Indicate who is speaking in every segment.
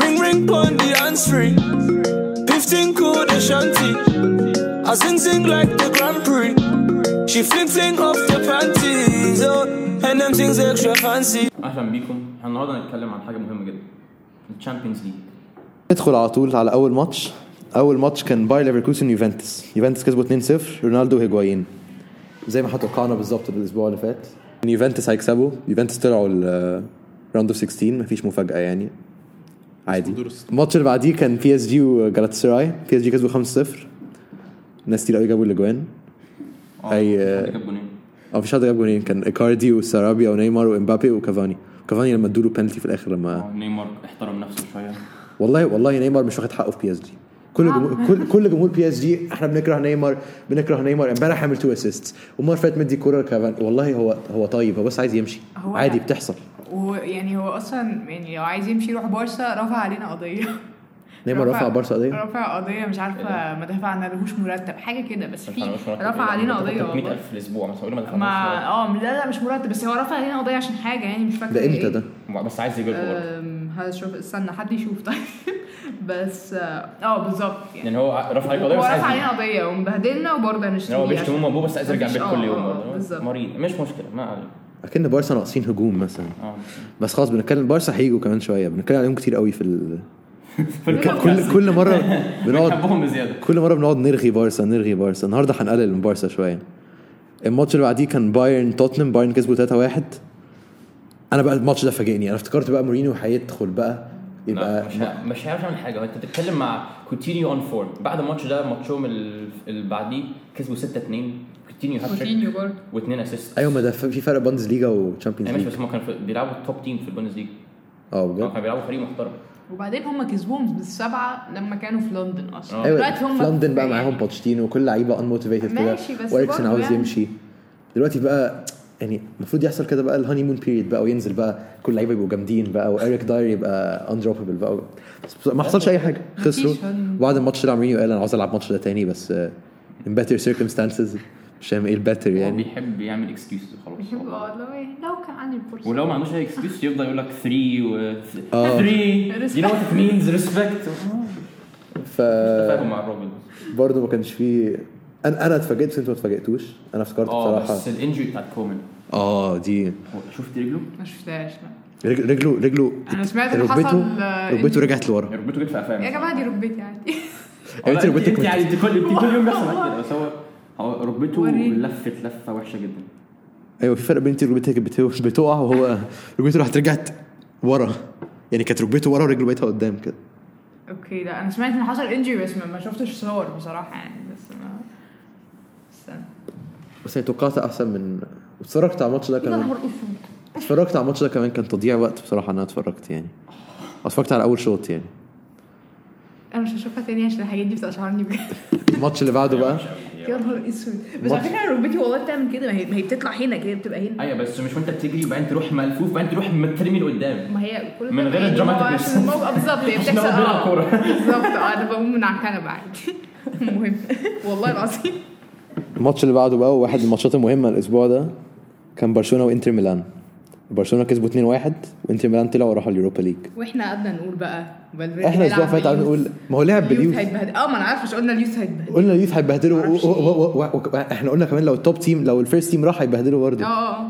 Speaker 1: Ring ring pon the answering. 15 cool the shanty. I sing sing like the Grand Prix. She fling fling off the panties. Oh, and them things extra fancy.
Speaker 2: اهلا بيكم احنا النهارده هنتكلم عن حاجه مهمه جدا الشامبيونز ليج
Speaker 3: ندخل على طول على اول ماتش اول ماتش كان باير ليفركوزن يوفنتوس يوفنتوس كسبوا 2-0 رونالدو هيجوايين زي ما احنا توقعنا بالظبط الاسبوع اللي فات إن يوفنتوس هيكسبوا يوفنتوس طلعوا الراوند اوف 16 مفيش مفاجاه يعني عادي الماتش اللي بعديه كان بي اس جي وجالاتسراي بي اس جي كسبوا 5-0 ناس كتير قوي جابوا الاجوان أي- اه مفيش حد جاب جونين كان ايكاردي وسارابيا ونيمار وامبابي وكافاني كافاني لما ادوا له بنالتي في الاخر لما
Speaker 2: نيمار احترم نفسه شويه
Speaker 3: والله والله نيمار مش واخد حقه في بي اس جي كل
Speaker 4: آه.
Speaker 3: جمهور كل كل جمهور بي اس جي احنا بنكره نيمار بنكره نيمار امبارح عمل تو اسيست ومره فات مدي كوره كافاني والله هو هو طيب هو بس عايز يمشي
Speaker 4: هو
Speaker 3: عادي
Speaker 4: لا.
Speaker 3: بتحصل
Speaker 4: ويعني هو اصلا يعني لو عايز يمشي يروح بارسا رفع علينا قضيه
Speaker 3: نيمار رفع بارسا قضيه
Speaker 4: رفع قضيه مش
Speaker 3: إيه
Speaker 4: عارفه ما دفعنا لهوش مرتب حاجه كده بس في
Speaker 2: إيه
Speaker 4: رفع علينا قضيه
Speaker 2: 300
Speaker 4: والله
Speaker 2: الف في الاسبوع مثلا يقولوا ما
Speaker 4: ما
Speaker 2: دفعناش
Speaker 4: اه لا لا مش مرتب بس هو رفع علينا قضيه عشان حاجه يعني مش فاكره
Speaker 3: ده
Speaker 4: إيه.
Speaker 3: امتى ده؟
Speaker 2: مرة. بس عايز يجيب برضه
Speaker 4: أم، هشوف استنى حد يشوف طيب بس اه آه، بالظبط يعني
Speaker 2: يعني هو رفع عليك قضيه
Speaker 4: هو
Speaker 2: بس
Speaker 4: رفع
Speaker 2: عايز
Speaker 4: علينا
Speaker 2: يجيب.
Speaker 4: قضيه ومبهدلنا وبرضه هنشتري
Speaker 2: يعني هو بيشتموه مبوه بس عايز يرجع
Speaker 4: مفيش-
Speaker 2: البيت
Speaker 4: آه،
Speaker 2: كل
Speaker 4: آه، آه،
Speaker 2: يوم برضه
Speaker 4: بالظبط.
Speaker 2: مريض مش مشكله ما علينا
Speaker 3: اكن بارسا ناقصين هجوم مثلا
Speaker 2: اه
Speaker 3: بس خلاص بنتكلم بارسا هيجوا كمان شويه بنتكلم عليهم كتير قوي في ال...
Speaker 4: البودكاست.
Speaker 3: كل كل مره بنقعد
Speaker 2: بنحبهم بزياده
Speaker 3: كل مره بنقعد نرغي بارسا نرغي بارسا النهارده هنقلل من بارسا شويه الماتش اللي بعديه كان بايرن توتنهام بايرن كسبوا 3-1 انا بقى الماتش ده فاجئني انا افتكرت بقى مورينيو هيدخل بقى
Speaker 2: لا،
Speaker 3: يبقى
Speaker 2: مش ه- مش هيعرف يعمل حاجه هو انت بتتكلم مع كوتينيو اون فورم بعد الماتش ده ماتشهم ال- اللي بعديه كسبوا 6 2 كوتينيو هاتريك
Speaker 4: كوتينيو برضه
Speaker 2: واثنين اسيست
Speaker 3: ايوه ما ده في فرق بوندز ليجا وتشامبيونز
Speaker 2: ماشي
Speaker 3: ليج
Speaker 2: بس هم كانوا في- بيلعبوا التوب تيم في البوندس ليج
Speaker 3: اه
Speaker 2: هو
Speaker 3: يعني بجد
Speaker 2: كانوا بيلعبوا فريق محترم
Speaker 4: وبعدين هم كسبوهم بالسبعه لما كانوا في لندن اصلا
Speaker 2: آه.
Speaker 3: ايوه
Speaker 4: دلوقتي هم
Speaker 3: في لندن بقى
Speaker 4: يعني
Speaker 3: معاهم بوتشيتينو وكل لعيبه ان موتيفيتد كده
Speaker 4: ماشي، بس
Speaker 3: واريكسن
Speaker 4: برضه
Speaker 3: عاوز
Speaker 4: يعني.
Speaker 3: يمشي دلوقتي بقى يعني المفروض يحصل كده بقى الهاني مون بيريد بقى وينزل بقى كل اللعيبه يبقوا جامدين بقى واريك داير يبقى اندروببل بقى بس ما حصلش اي حاجه خسروا
Speaker 4: مفيش هاني مون.
Speaker 3: بعد الماتش ده مورينيو قال انا عاوز العب ماتش ده تاني بس آه، ان باتر سيركمستانسز مش فاهم ايه الباتر
Speaker 2: هو
Speaker 3: يعني
Speaker 2: بيحب يعمل اكسكيوز وخلاص
Speaker 4: بيحبوا
Speaker 2: والله.
Speaker 4: والله لو كان عندي الفرصه
Speaker 2: ولو ما عندوش اي اكسكيوز يفضل يقول لك 3 و 3
Speaker 3: آه.
Speaker 2: يو نو وات ات مينز ريسبكت
Speaker 3: ف
Speaker 2: تفاهم اه. مع الراجل
Speaker 3: برضه ما كانش فيه انا انا اتفاجئت بس انتوا ما اتفاجئتوش انا افتكرت
Speaker 2: اه
Speaker 3: بصراحه
Speaker 2: بس الانجري بتاعت كومان
Speaker 3: اه دي
Speaker 2: هو- شفت رجله؟
Speaker 4: ما شفتهاش لا
Speaker 3: رجل- رجله رجله
Speaker 4: أنا سمعت إن
Speaker 3: ركبته
Speaker 4: حصل، آه،
Speaker 3: ركبته
Speaker 4: إن-
Speaker 3: رجعت لورا
Speaker 2: ركبته جت في قفاه
Speaker 4: يا جماعه دي ركبتي عادي
Speaker 3: يعني انت ركبتك
Speaker 2: انت
Speaker 3: كنت-
Speaker 2: يعني انت كل انت كل يوم بيحصل معاك كده بس هو هو ركبته
Speaker 4: وريني.
Speaker 2: لفت لفه وحشه جدا
Speaker 3: ايوه في فرق بين انت ركبتك بت- بتقع وهو ركبته راحت رجعت ورا يعني كانت ركبته ورا ورجله بقيتها قدام كده
Speaker 4: اوكي لا انا سمعت ان حصل انجري بس ما- ما شفتش صور بصراحه يعني بس انا استنى
Speaker 3: بس هي توقعت احسن من اتفرجت على الماتش ده
Speaker 4: ايه ده
Speaker 3: كمان
Speaker 4: نهار اسود
Speaker 3: اتفرجت على الماتش ده كمان كان تضييع وقت بصراحه ان انا اتفرجت يعني اتفرجت على اول شوط يعني
Speaker 4: انا مش هشوفها تاني عشان الحاجات دي بتقشعرني بجد
Speaker 3: الماتش اللي بعده بقى
Speaker 4: يا نهار اسود بس على فكره أنا ركبتي والله بتعمل كده ما هي ما هي بتطلع هنا كده بتبقى هنا
Speaker 2: ايوه بس مش وانت بتجري وبعدين تروح ملفوف وبعدين تروح مترمي لقدام
Speaker 4: ما هي كل
Speaker 2: من
Speaker 4: ده
Speaker 2: غير
Speaker 4: يعني
Speaker 2: الدراماتيك
Speaker 4: هو
Speaker 2: نفسه.
Speaker 4: عشان الموقع بالظبط هي
Speaker 2: عشان
Speaker 4: بتحصل
Speaker 2: هو بيلعب
Speaker 4: آه.
Speaker 2: كورة.
Speaker 4: بالظبط اه انا بقوم من على الكنبه عادي المهم والله العظيم
Speaker 3: الماتش اللي بعده بقى واحد الماتشات المهمه الاسبوع ده كان برشلونه وانتر ميلان برشلونه كسبوا 2-1 وانتر ميلان طلعوا وراحوا اليوروبا ليج
Speaker 4: واحنا قعدنا نقول بقى فالفيردي
Speaker 3: احنا الاسبوع اللي
Speaker 4: هيلعب
Speaker 3: فات قعدنا
Speaker 4: باليوث.
Speaker 3: نقول ما هو لعب
Speaker 4: اليوث
Speaker 3: باليوث
Speaker 4: هيتبهدل اه ما انا عارفه مش قلنا اليوث هيتبهدل
Speaker 3: قلنا اليوث هيبهدلوا
Speaker 4: معرفش
Speaker 3: و- و- و- و- احنا قلنا كمان لو التوب تيم لو الفيرست تيم راح هيبهدلوا برضه
Speaker 4: اه اه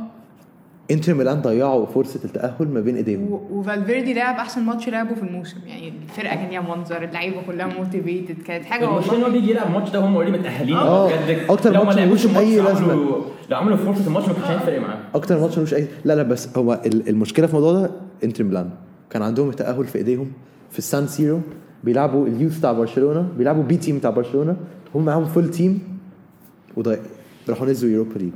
Speaker 3: انتر ميلان ضيعوا فرصه التاهل ما بين ايديهم
Speaker 4: و- وفالفيردي لعب احسن ماتش لعبه في الموسم يعني الفرقه كان ليها منظر اللعيبه كلها موتيفيتد كانت حاجه
Speaker 2: المشكله ان
Speaker 4: والله
Speaker 2: هو بيجي يلعب الماتش ده وهم اوريدي متاهلين
Speaker 3: آه. أكتر
Speaker 2: لو ما
Speaker 3: ماتش
Speaker 2: لعبوش
Speaker 3: ملوش أي
Speaker 2: الماتش
Speaker 3: لازمة.
Speaker 2: عملوا- لو عملوا فرصه الماتش ما كانش هيفرق معاهم
Speaker 3: اكتر ماتش ملوش اي لا لا بس هو ال- المشكله في الموضوع ده انتر ميلان كان عندهم التاهل في ايديهم في السان سيرو بيلعبوا اليوث بتاع برشلونه بيلعبوا بي تيم بتاع برشلونه هم معاهم فول تيم وضيع راحوا نزلوا يوروبا ليج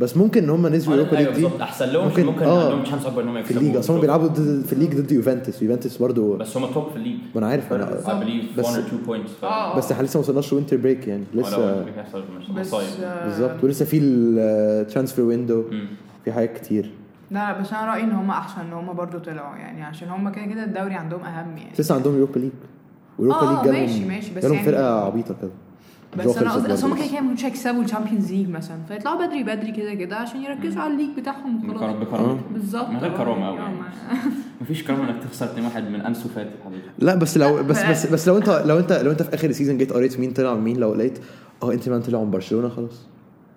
Speaker 3: بس ممكن ان هم نزلوا يوروبا
Speaker 2: ايوه
Speaker 3: ليج دي
Speaker 2: بالظبط احسن لهم
Speaker 3: إيه، ممكن-
Speaker 2: ممكن, ممكن
Speaker 3: آه.
Speaker 2: عندهم شانس اكبر ان هم
Speaker 3: في
Speaker 2: يكسبوا
Speaker 3: الليج اصلا هم بيلعبوا ضد- في الليج ضد يوفنتوس يوفنتوس برضه
Speaker 2: بس هم توب في الليج
Speaker 3: ما انا عارف انا
Speaker 2: I believe
Speaker 3: بس-
Speaker 2: 1 or 2 points
Speaker 4: اه
Speaker 3: بس احنا لسه ما وصلناش وينتر بريك يعني لسه
Speaker 4: بس
Speaker 2: مصايب
Speaker 4: آه،
Speaker 3: بالظبط ولسه في الترانسفير ويندو في حاجات كتير
Speaker 4: لا بس انا رايي ان هم احسن ان هم برضو طلعوا يعني عشان هم كده كده الدوري عندهم اهم يعني
Speaker 3: بس لسه عندهم يوروبا ليج ويوروبا
Speaker 4: آه،
Speaker 3: ليج جالهم
Speaker 4: ماشي- ماشي، بس
Speaker 3: جالهم
Speaker 4: يعني-
Speaker 3: فرقه عبيطه كده
Speaker 4: بس انا قصدي اصل هم كده كده ما كانوش هيكسبوا الشامبيونز ليج مثلا فيطلعوا بدري بدري كده كده عشان يركزوا على الليج بتاعهم
Speaker 2: بكرم-
Speaker 4: وخلاص
Speaker 2: بكرامه
Speaker 4: بالظبط
Speaker 2: من غير
Speaker 4: آه.
Speaker 2: كرامة أوي
Speaker 4: آه،
Speaker 2: يعني.
Speaker 4: ما-
Speaker 2: مفيش كرامه انك تخسر 2 واحد من انسو فاتي حبيبي
Speaker 3: لا بس لو بس
Speaker 4: لا.
Speaker 3: بس بس لو انت لو انت لو انت في اخر السيزون جيت قريت مين طلع ومين لو لقيت اه انت مان طلعوا من برشلونه خلاص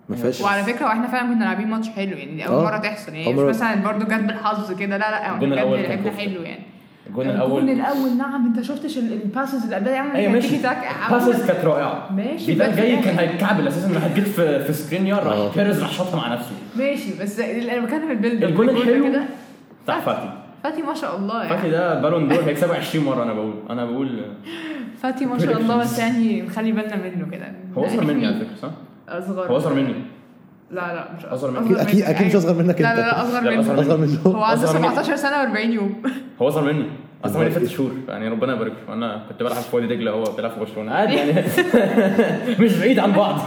Speaker 3: ما فيهاش
Speaker 4: وعلى فكره واحنا فعلا كنا لاعبين ماتش حلو يعني دي اول
Speaker 3: آه.
Speaker 4: مره تحصل يعني
Speaker 3: أول
Speaker 4: مش
Speaker 3: مرة.
Speaker 4: مثلا برضه جت بالحظ كده لا لا
Speaker 2: الجون
Speaker 4: احنا
Speaker 2: الأول
Speaker 4: بجد
Speaker 2: كان
Speaker 4: لعبنا
Speaker 2: كفتة.
Speaker 4: حلو يعني
Speaker 2: الجون
Speaker 4: الجون
Speaker 2: الاول
Speaker 4: الاول نعم انت شفتش الباسز اللي قبلها يعني
Speaker 2: ايوه
Speaker 4: كان
Speaker 2: ماشي
Speaker 4: تيكي تاك
Speaker 2: باسز كانت رائعه
Speaker 4: ماشي،
Speaker 2: زيدان
Speaker 4: بس
Speaker 2: جاي
Speaker 4: يعني.
Speaker 2: كان هيتكعبل اساسا انه هتجيب في في سكرينيار
Speaker 3: آه.
Speaker 2: راح بيريز راح شاطها مع نفسه
Speaker 4: ماشي بس اللي انا بتكلم في البيلد
Speaker 2: الجون
Speaker 4: ده
Speaker 2: الحلو
Speaker 4: كده
Speaker 2: بتاع فاتي
Speaker 4: فاتي ما شاء الله يعني
Speaker 2: فاتي ده بالون دور هيكسبه 20 مره انا بقول انا بقول
Speaker 4: فاتي ما شاء الله بس يعني نخلي بالنا منه كده
Speaker 2: هو اصغر مني على
Speaker 4: أكيد.
Speaker 2: فكره صح؟
Speaker 4: اصغر
Speaker 2: هو اصغر مني
Speaker 4: لا لا مش
Speaker 2: أصغر منك.
Speaker 3: اكيد اكيد, أكيد مش
Speaker 4: أيوة.
Speaker 3: اصغر منك
Speaker 4: لا لا
Speaker 3: انت
Speaker 4: لا اصغر
Speaker 2: لا، أصغر
Speaker 4: مني
Speaker 3: اصغر منه
Speaker 4: هو عنده
Speaker 2: أصغر مني.
Speaker 4: 17 سنه و40 يوم
Speaker 2: هو اصغر مني اصغر مني ست شهور يعني ربنا يبارك له انا كنت بلعب في وادي دجله هو بيلعب في برشلونه عادي يعني مش بعيد عن بعض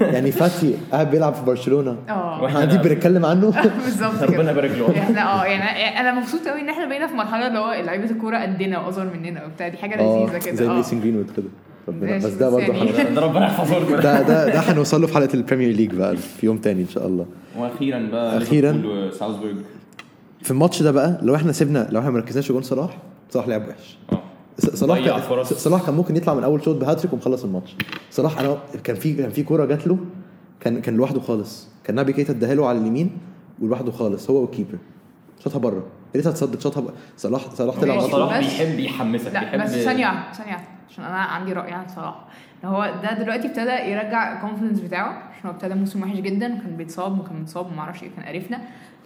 Speaker 3: يعني فاتي قاعد بيلع في برشلونه
Speaker 4: اه
Speaker 2: واحنا
Speaker 3: احنا قاعدين بنتكلم عنه
Speaker 4: بالظبط
Speaker 2: ربنا
Speaker 4: كده
Speaker 2: يبارك له
Speaker 4: احنا اه يعني انا مبسوط قوي ان احنا بقينا في مرحله اللي هو لعيبه الكوره قدنا واصغر مننا وبتاع دي حاجه
Speaker 3: اه
Speaker 4: لذيذه
Speaker 3: زي
Speaker 4: كده اه
Speaker 3: ميسن جرينوود كده ربنا
Speaker 4: ماشي،
Speaker 3: بس ده
Speaker 4: بس
Speaker 3: برضه
Speaker 4: يعني-
Speaker 3: هن-
Speaker 2: ده ربنا يحفظه لكم
Speaker 3: ده ده ده هنوصل له في حلقه البريمير ليج بقى في يوم تاني ان شاء الله
Speaker 2: واخيرا بقى
Speaker 3: أخيراً.
Speaker 2: ليفربول وساوثبورج
Speaker 3: في الماتش ده بقى لو احنا سيبنا لو احنا ما ركزناش في جون صلاح صلاح لعب وحش
Speaker 2: اه
Speaker 3: ص- صلاح
Speaker 2: ضيع
Speaker 3: كان
Speaker 2: فرص.
Speaker 3: صلاح كان ممكن يطلع من اول شوط بهاتريك ومخلص الماتش صلاح انا كان في كان في كوره جات له كان كان لوحده خالص كان نبي كيتا اداها له على اليمين ولوحده خالص هو والكيبر شاطها بره لسه هتصدت شاطها ب- صلاح صلاح طلع
Speaker 4: ماشي.
Speaker 3: على طول.
Speaker 2: صلاح
Speaker 4: بس-
Speaker 2: بيحب يحمسك
Speaker 4: لا
Speaker 2: بيحب
Speaker 4: بس ثانية واحدة، ثانية واحدة، عشان انا عندي رأي عن صلاح هو ده دلوقتي ابتدى يرجع الكونفدنس بتاعه عشان هو ابتدى موسم وحش جدا وكان بيتصاب وكان متصاب وما اعرفش ايه كان قرفنا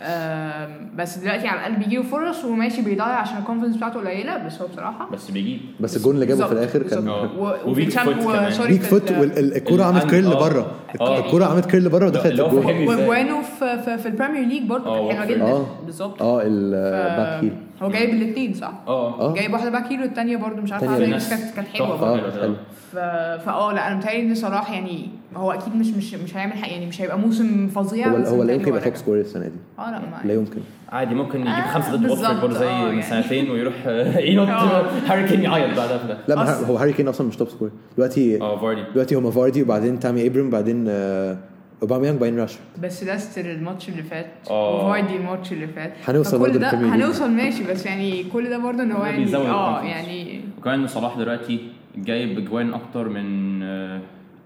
Speaker 4: آم، بس دلوقتي على الاقل بيجيله فرص وماشي بيضيع عشان الكونفدنس بتاعته قليلة بس هو بصراحة
Speaker 2: بس بيجيب
Speaker 3: بس الجون اللي جابه في
Speaker 4: بالظبط،
Speaker 3: الاخر
Speaker 4: بالظبط.
Speaker 3: كان
Speaker 2: آه.
Speaker 4: و- وفي
Speaker 2: وبيك
Speaker 4: الشامب-
Speaker 2: فوت كمان.
Speaker 4: وسوري
Speaker 3: بيك
Speaker 4: في
Speaker 3: فوت
Speaker 4: ال- اه.
Speaker 3: والكوره عملت
Speaker 2: الأند-
Speaker 3: كيرل
Speaker 2: آه.
Speaker 3: بره
Speaker 2: آه.
Speaker 3: الكوره عملت كيرل بره ودخلت
Speaker 2: لا، هو
Speaker 3: الجون
Speaker 2: فاهم إزاي.
Speaker 4: واجوانه في, في, في البريمير ليج برضه
Speaker 2: آه،
Speaker 4: كانت حلوه
Speaker 3: آه.
Speaker 4: جدا بالظبط
Speaker 3: اه
Speaker 4: ف-
Speaker 3: الباك هيل
Speaker 4: هو جايب الاثنين صح؟
Speaker 2: اه
Speaker 3: اه
Speaker 4: جايب واحده باك هيل والثانيه برضه مش عارفه
Speaker 3: التانية
Speaker 4: على إيه،
Speaker 2: ناس
Speaker 4: بس كانت كانت حلوه
Speaker 2: تحفة.
Speaker 4: برضه
Speaker 3: اه حلو
Speaker 4: ف- فاه لا انا متهيألي ان صلاح يعني هو اكيد مش مش مش هيعمل حق يعني مش هيبقى موسم فظيع
Speaker 3: هو
Speaker 4: بس
Speaker 3: هو لا
Speaker 4: متهيألي
Speaker 3: يمكن يبقى
Speaker 4: هو
Speaker 3: توب سكورر السنه دي
Speaker 4: اه لا ما
Speaker 3: لا يمكن
Speaker 2: عادي ممكن يجيب
Speaker 4: آه،
Speaker 2: خمسه ضد واتفورد
Speaker 4: بالظبط، آه،
Speaker 2: زي من
Speaker 4: يعني.
Speaker 2: سنتين ويروح ينط
Speaker 4: آه.
Speaker 2: هاري كين يعيط بعدها في ده
Speaker 3: لا ما
Speaker 4: أصل-
Speaker 3: هو هاري كين اصلا مش توب سكورر دلوقتي
Speaker 2: اه فاردي
Speaker 3: دلوقتي هما فاردي وبعدين تامي ابرم وبعدين آه، اوباميانج وبعدين راشفورد
Speaker 4: بس ليستر الماتش اللي فات
Speaker 2: آه.
Speaker 4: وفاردي الماتش اللي فات
Speaker 3: هنوصل
Speaker 4: فكل
Speaker 3: برضه
Speaker 4: ده
Speaker 3: للبريمير ليج.
Speaker 4: هنوصل ماشي بس يعني كل ده برضه ان هو
Speaker 2: ده
Speaker 4: يعني
Speaker 2: بيزود
Speaker 4: اه
Speaker 2: الconfidence.
Speaker 4: يعني
Speaker 2: وكمان صلاح دلوقتي جايب اجوان اكتر من آه،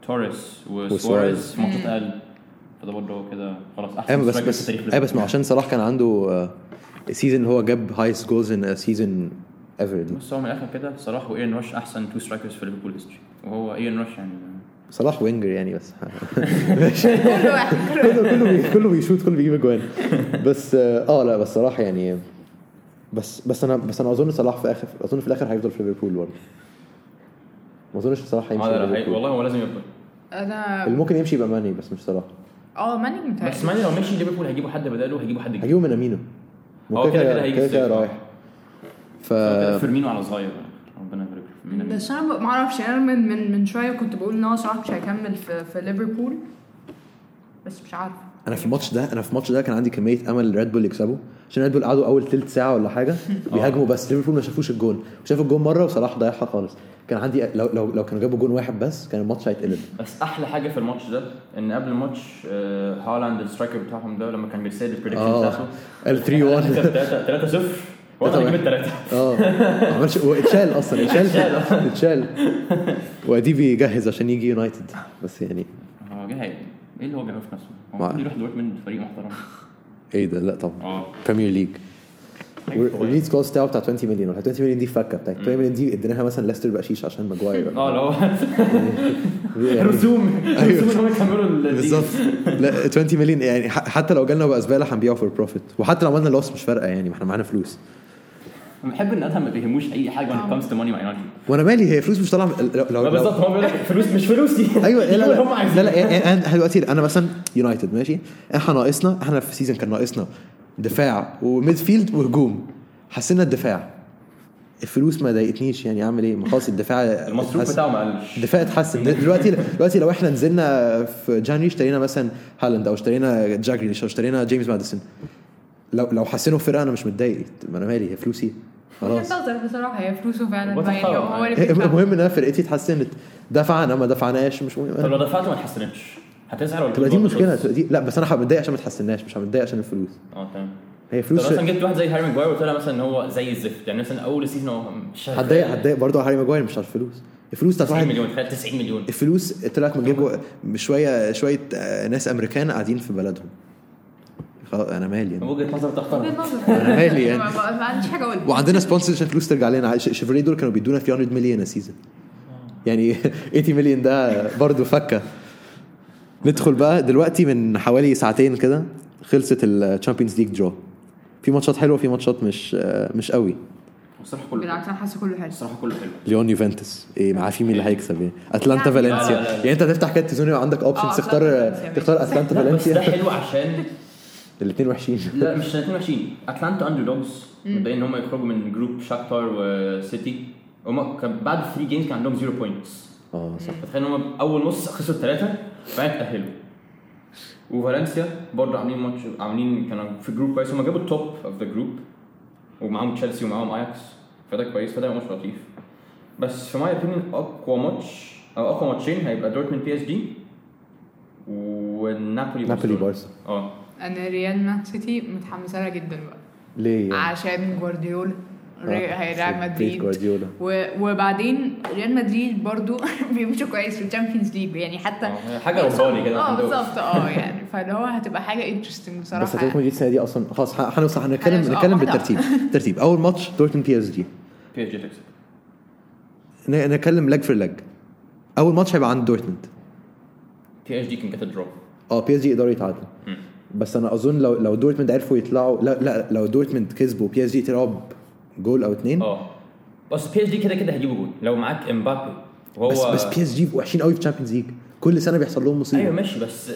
Speaker 2: توريس
Speaker 3: وسواريز.
Speaker 2: وسواريز في ماتشات اقل فده برضه كده خلاص احسن
Speaker 3: ايوه بس
Speaker 2: striker في
Speaker 3: بس
Speaker 2: تاريخ
Speaker 3: ايوه بس ما
Speaker 2: ليفربول.
Speaker 3: عشان صلاح كان عنده آه، السيزون اللي هو جاب هايست جولز ان سيزون ايفر دي
Speaker 2: بص هو من الاخر كده صلاح وايرن روش احسن تو سترايكرز في ليفربول هيستوري وهو ايرن روش يعني
Speaker 3: صلاح وينجر يعني بس
Speaker 4: كل واحد كل واحد
Speaker 3: كله كله بي- كله بيشوت كله بيجيب اجوان بس اه آه، لا بس صلاح يعني بس بس انا بس انا اظن صلاح في اخر اظن في الاخر هيفضل في ليفربول برضه ما اظنش صلاح هيمشي
Speaker 2: آه، لا،
Speaker 3: من
Speaker 2: لا، هي-
Speaker 3: ليفربول.
Speaker 2: والله هو لازم يفضل
Speaker 4: انا
Speaker 3: اللي ممكن يمشي يبقى ماني بس مش صلاح
Speaker 4: اه ماني متهيألي
Speaker 2: بس ماني لو مشي ليفربول هيجيبوا حد بداله هيجيبوا حد جديد
Speaker 3: هجيبه من امينو
Speaker 2: هو كده كده هيجي
Speaker 3: كده كده
Speaker 2: الصيف. اه،
Speaker 3: رايح آه. ف
Speaker 2: كده فيرمينو على صغير ربنا يبارك له فيرمينو.
Speaker 4: بس انا ما اعرفش انا من من من شويه كنت بقول ان هو صلاح مش هيكمل في في ليفربول بس مش يعني عارفه
Speaker 3: انا في الماتش ده انا في الماتش ده كان عندي كميه امل ريد بول يكسبوا عشان ريد بول قعدوا اول ثلث ساعه ولا حاجه
Speaker 2: اه.
Speaker 3: بيهاجموا بس ليفربول ما شافوش الجون شاف الجون مره وصلاح ضيعها خالص كان عندي لو لو لو كانوا جابوا جون واحد بس كان الماتش هيتقلب
Speaker 2: بس احلى حاجه في الماتش ده ان قبل الماتش آه، هالاند السترايكر بتاعهم ده لما كان بيرسل البريدكشن
Speaker 3: اه
Speaker 2: بتاعته
Speaker 3: ال 3 1
Speaker 2: 3 0 وانا
Speaker 3: طبعاً.
Speaker 2: جبت 3
Speaker 3: اه ما عملش واتشال اصلا اتشال اتشال وادي بيجهز عشان يجي يونايتد بس يعني
Speaker 2: هو جه هيعمل ايه اللي هو بيعمله في نفسه؟ هو
Speaker 3: ما-
Speaker 2: المفروض يروح دورتموند فريق محترم
Speaker 3: ايه ده لا طبعا
Speaker 2: اه
Speaker 3: بريمير ليج والريليز كوست بتاعه بتاع 20 مليون 20 مليون دي فكه بتاعت 20 مليون دي اديناها مثلا ليستر بقشيش عشان ماجواير
Speaker 2: اه لو
Speaker 3: يعني-
Speaker 2: رسوم
Speaker 3: أيوه.
Speaker 2: رسوم ان هم يكملوا ال-
Speaker 3: بالظبط
Speaker 2: دي.
Speaker 3: لا 20 مليون يعني ح- حتى لو جالنا بقى زباله هنبيعه فور بروفيت وحتى لو عملنا لوس مش فارقه يعني ما احنا معانا فلوس
Speaker 2: بحب ان ادهم ما بيهموش اي حاجه when it comes to money my energy
Speaker 3: وانا مالي هي فلوس مش طالعه من- لو, لو,
Speaker 2: لا
Speaker 3: لو
Speaker 2: بالظبط هو بيقول لك فلوس مش فلوسي
Speaker 3: ايوه لا لا
Speaker 2: يجيبوا اللي هم
Speaker 3: لا,
Speaker 2: عايزينه.
Speaker 3: لا يعني انا دلوقتي انا مثلا يونايتد ماشي احنا ناقصنا احنا في سيزون كان ناقصنا دفاع وميدفيلد وهجوم حسينا الدفاع الفلوس ما ضايقتنيش يعني اعمل ايه ما خلاص الدفاع
Speaker 2: المصروف
Speaker 3: اتحسن.
Speaker 2: بتاعه ما قلش
Speaker 3: الدفاع اتحسن دل- دلوقتي دلوقتي لو احنا نزلنا في جانري اشترينا مثلا هالاند او اشترينا جاك جريليش او اشترينا جيمس ماديسون لو لو حسنوا الفرقه انا مش متضايق ما انا مالي هي فلوسي خلاص
Speaker 4: بتنتظر بصراحه هي فلوسه فعلا
Speaker 2: وبتحقق.
Speaker 4: يعني هو
Speaker 3: إيه،
Speaker 4: اللي بيدفع.
Speaker 3: المهم ان انا فرقتي اتحسنت دفعنا ما دفعناش مش مهم
Speaker 2: طب لو دفعته ما تحسنتش هتزعل ولا
Speaker 3: تبقى دي
Speaker 2: تبقى
Speaker 3: مشكله
Speaker 2: مبسوط؟
Speaker 3: تبقى دي لا بس انا هبقى متضايق عشان ما اتحسناش مش هبقى متضايق عشان الفلوس
Speaker 2: اه تمام
Speaker 3: هي
Speaker 2: طب
Speaker 3: فلوس
Speaker 2: لو
Speaker 3: ش-
Speaker 2: مثلا جبت واحد زي هاري ماجواير وقلت له مثلا ان هو زي الزفت يعني مثلا اول سيزون هو مش شغال.
Speaker 3: هتضايق هتضايق برضه هاري ماجواير مش على الفلوس الفلوس بتاعت
Speaker 2: 90
Speaker 3: واحد
Speaker 2: مليون تخيل 90 مليون
Speaker 3: الفلوس طلعت من جيب شويه شويه آه، ناس امريكان قاعدين في بلدهم خلاص انا مالي يعني.
Speaker 2: وجهه نظر
Speaker 4: وجهة
Speaker 2: تحترم
Speaker 4: نظر.
Speaker 3: أنا مالي يعني.
Speaker 4: ما- ما ما عنديش حاجه اقول
Speaker 3: وعندنا سبونسرز عشان الفلوس ترجع لنا ش- شيفروليه دول كانوا بيدونا 300 مليون سيزون يعني 80 مليون ده برضه فكه ندخل بقى دلوقتي من حوالي ساعتين كده خلصت الشامبيونز ليج درو في ماتشات حلوه في ماتشات مش آه، مش قوي
Speaker 2: الصراحه كله
Speaker 4: بالعكس انا حاسه كله حلو
Speaker 2: الصراحه كله حلو
Speaker 3: ليون يوفنتوس ايه ما عارفين مين اللي هيكسب ايه اتلانتا
Speaker 4: يعني-
Speaker 3: فالنسيا
Speaker 2: لا، لا، لا.
Speaker 3: يعني انت هتفتح كده التلفزيون يبقى عندك اوبشنز
Speaker 4: أتلانتا
Speaker 3: تختار
Speaker 4: فالنسيا.
Speaker 3: تختار اتلانتا
Speaker 2: لا بس ده
Speaker 3: فالنسيا
Speaker 2: حلو عشان
Speaker 3: الاثنين وحشين
Speaker 2: لا مش 22 اتلانتا اندر دوجز مبدئيا ان هم يخرجوا من جروب شاكتار وسيتي هم كان بعد 3 جيمز كان عندهم 0 بوينتس
Speaker 3: اه صح
Speaker 2: فتخيل ان هم اول نص خسروا ثلاثه بعدين اتاهلوا وفالنسيا برضه عاملين ماتش عاملين كانوا في جروب كويس هم جابوا التوب اوف ذا جروب ومعاهم تشيلسي ومعاهم اياكس فده كويس فده ماتش لطيف بس في ماي اوبينيون اقوى ماتش او اقوى ماتشين هيبقى دورتموند بي اس جي والنابولي
Speaker 3: نابولي
Speaker 2: برشلونة.
Speaker 3: بارسا
Speaker 2: اه
Speaker 4: انا ريال مان سيتي متحمسه لها جدا بقى
Speaker 3: ليه يعني؟
Speaker 4: عشان جوارديولا
Speaker 3: آه،
Speaker 4: ري- هيلاعب
Speaker 3: بيت
Speaker 4: مدريد
Speaker 3: جوارديولا
Speaker 4: و... وبعدين ريال مدريد برضو بيمشوا كويس في الشامبيونز ليج يعني حتى
Speaker 2: آه، حاجه رباني كده
Speaker 4: اه
Speaker 2: عندهم.
Speaker 4: بالظبط اه يعني فاللي هو هتبقى حاجه انترستنج بصراحه
Speaker 3: بس اتلتيكو مدريد السنه دي اصلا خلاص ه- هنوصل هنتكلم
Speaker 4: هنوصل- آه،
Speaker 3: هنتكلم
Speaker 4: واحدة
Speaker 3: بالترتيب ترتيب اول ماتش دورتموند بي اس جي
Speaker 2: بي اس جي تكسب
Speaker 3: ن- نتكلم لج في لج اول ماتش هيبقى عند دورتموند
Speaker 2: بي اس جي كان جت درو
Speaker 3: اه بي اس جي يقدروا يتعادلوا
Speaker 2: مم.
Speaker 3: بس انا اظن لو لو دورتموند عرفوا يطلعوا لا لا لو دورتموند كسبوا بي اس جي يطلعوا بجول او اتنين
Speaker 2: اه بس بي اس جي كده كده هيجيبوا جول لو معاك امبابي وهو
Speaker 3: بس بس بي اس جي وحشين قوي في الشامبيونز ليج كل سنه بيحصل لهم مصيبه
Speaker 2: ايوه ماشي بس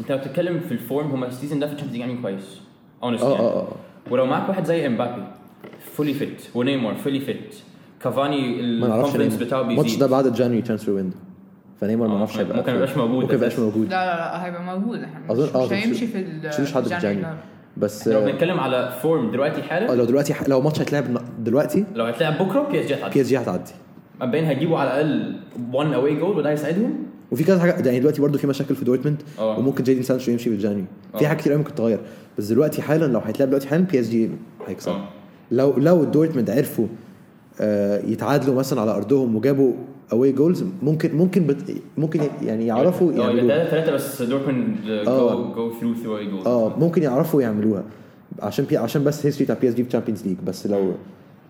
Speaker 2: انت لو بتتكلم في الفورم هما السيزون ده في الشامبيونز ليج عاملين كويس اونست
Speaker 3: اه اه اه
Speaker 2: ولو معاك واحد زي امبابي فولي فيت ونيمار فولي فيت كافاني
Speaker 3: ما نعرفش
Speaker 2: الكونفدنس بتاعه بيزيد
Speaker 3: الماتش ده بعد الجانوري ترانسفير ويندو فنيمار ما
Speaker 2: آه،
Speaker 3: نعرفش هيبقى
Speaker 2: ممكن
Speaker 3: فين.
Speaker 2: يبقاش موجود
Speaker 3: ممكن ما يبقاش
Speaker 2: أساساً.
Speaker 3: موجود
Speaker 4: لا لا لا هيبقى موجود احنا مش,
Speaker 3: أظن- آه،
Speaker 4: مش
Speaker 3: أظن
Speaker 4: هيمشي
Speaker 3: شيل-
Speaker 4: في ال
Speaker 3: شيلوش حد في
Speaker 4: January.
Speaker 3: الجانيوري بس
Speaker 2: لو
Speaker 3: آه،
Speaker 2: بنتكلم على فورم دلوقتي
Speaker 3: اه
Speaker 2: حالا
Speaker 3: لو دلوقتي لو ماتش هيتلعب الن- دلوقتي
Speaker 2: لو هتلعب بكره بي اس جي
Speaker 3: بي
Speaker 2: هتعدي
Speaker 3: اس جي هتعدي
Speaker 2: مبدئيا هيجيبوا على الاقل 1 اواي جول وده هيساعدهم
Speaker 3: وفي كذا حاجه يعني دلوقتي برضو في مشاكل في دورتموند
Speaker 2: اه.
Speaker 3: وممكن جيدن سانشو يمشي في جانيو في
Speaker 2: اه.
Speaker 3: حاجات كتير قوي ممكن تتغير بس دلوقتي حالا لو هيتلعب دلوقتي حالا بي اس جي هيكسب
Speaker 2: اه.
Speaker 3: لو لو دورتموند عرفوا آه، يتعادلوا مثلا على ارضهم وجابوا اواي جولز ممكن ممكن بت ممكن يعني يعرفوا
Speaker 2: اه يبقى
Speaker 3: يعملوها
Speaker 2: ثلاثة ثلاثة بس uh, دورتموند جو
Speaker 3: اه.
Speaker 2: جو ثرو ثرو اي جول
Speaker 3: اه ممكن يعرفوا يعملوها عشان بي عشان بس هيستوري بتاع بي اس جي في تشامبيونز ليج بس لو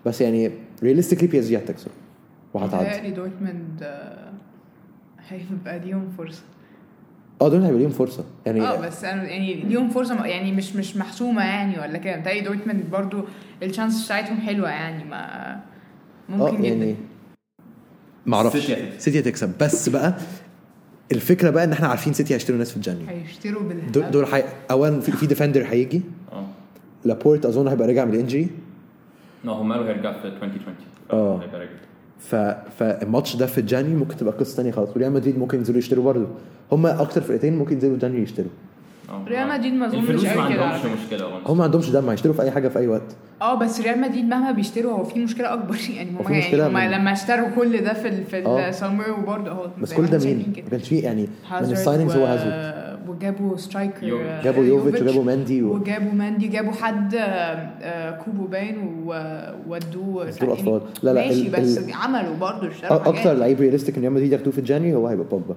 Speaker 3: بس يعني رياليستيكلي بي اس جي هتكسب وهتعدي
Speaker 4: متهيألي دورتموند آه، هيبقى ليهم فرصه
Speaker 3: اه دول هيبقى ليهم فرصه يعني
Speaker 4: اه بس انا يعني ليهم فرصه م- يعني مش مش محسومه يعني ولا كده متهيألي دورتموند برضو الشانس بتاعتهم حلوه يعني ما ممكن
Speaker 3: اه
Speaker 4: جدا
Speaker 3: يعني معرفش
Speaker 2: سيتي هتكسب.
Speaker 3: سيتي هتكسب بس بقى الفكره بقى ان احنا عارفين سيتي هيشتروا ناس في الجانيو
Speaker 4: هيشتروا
Speaker 3: دول,
Speaker 4: بالهبل
Speaker 3: دول حي... اولا في, في ديفندر هيجي
Speaker 2: اه
Speaker 3: لابورت اظن هيبقى راجع من الانجري
Speaker 2: لا هو ماله هيرجع في 2020
Speaker 3: اه.
Speaker 2: هيبقى راجع.
Speaker 3: ف... فالماتش ده في الجانيو ممكن تبقى قصه ثانيه خالص وريال مدريد ممكن ينزلوا يشتروا برضه هما اكتر فرقتين ممكن ينزلوا الجانيو يشتروا
Speaker 2: اه.
Speaker 4: ريال مدريد ما أظنش
Speaker 2: الفلوس
Speaker 4: قوي
Speaker 2: ما
Speaker 4: كده على
Speaker 2: عندهمش
Speaker 4: فكرة.
Speaker 2: مشكله اه.
Speaker 3: هم ما عندهمش دم هيشتروا في اي حاجه في اي وقت
Speaker 4: اه بس ريال مدريد مهما بيشتروا هو في مشكله اكبر يعني هم
Speaker 3: في مشكلة
Speaker 4: يعني هم
Speaker 3: من-
Speaker 4: لما اشتروا كل ده في ال- في
Speaker 3: اه.
Speaker 4: السمر وبرضه اهو
Speaker 3: بس
Speaker 4: زي
Speaker 3: كل
Speaker 4: ما
Speaker 3: ده
Speaker 4: احنا
Speaker 3: مين؟
Speaker 4: شايفين
Speaker 3: ما
Speaker 4: كده.
Speaker 3: كانش فيه يعني من
Speaker 4: هازارد
Speaker 3: السايننجز
Speaker 4: و-
Speaker 3: هو هازارد
Speaker 4: وجابوا آه، سترايكر
Speaker 2: يوفيتش.
Speaker 3: جابوا يوفيتش وجابوا ماندي و...
Speaker 4: وجابوا ماندي جابوا حد آه، آه، كوبو باين و- وودوه
Speaker 3: دول
Speaker 4: يعني
Speaker 3: أطفال. لا، لا،
Speaker 4: ماشي
Speaker 3: ال-
Speaker 4: بس
Speaker 3: ال-
Speaker 4: عملوا برضه اشتروا
Speaker 3: أ- اكتر
Speaker 4: حاجات
Speaker 3: لعيب رياليستيك ان ريال مدريد ياخدوه في الجانيو هو هيبقى بوجبا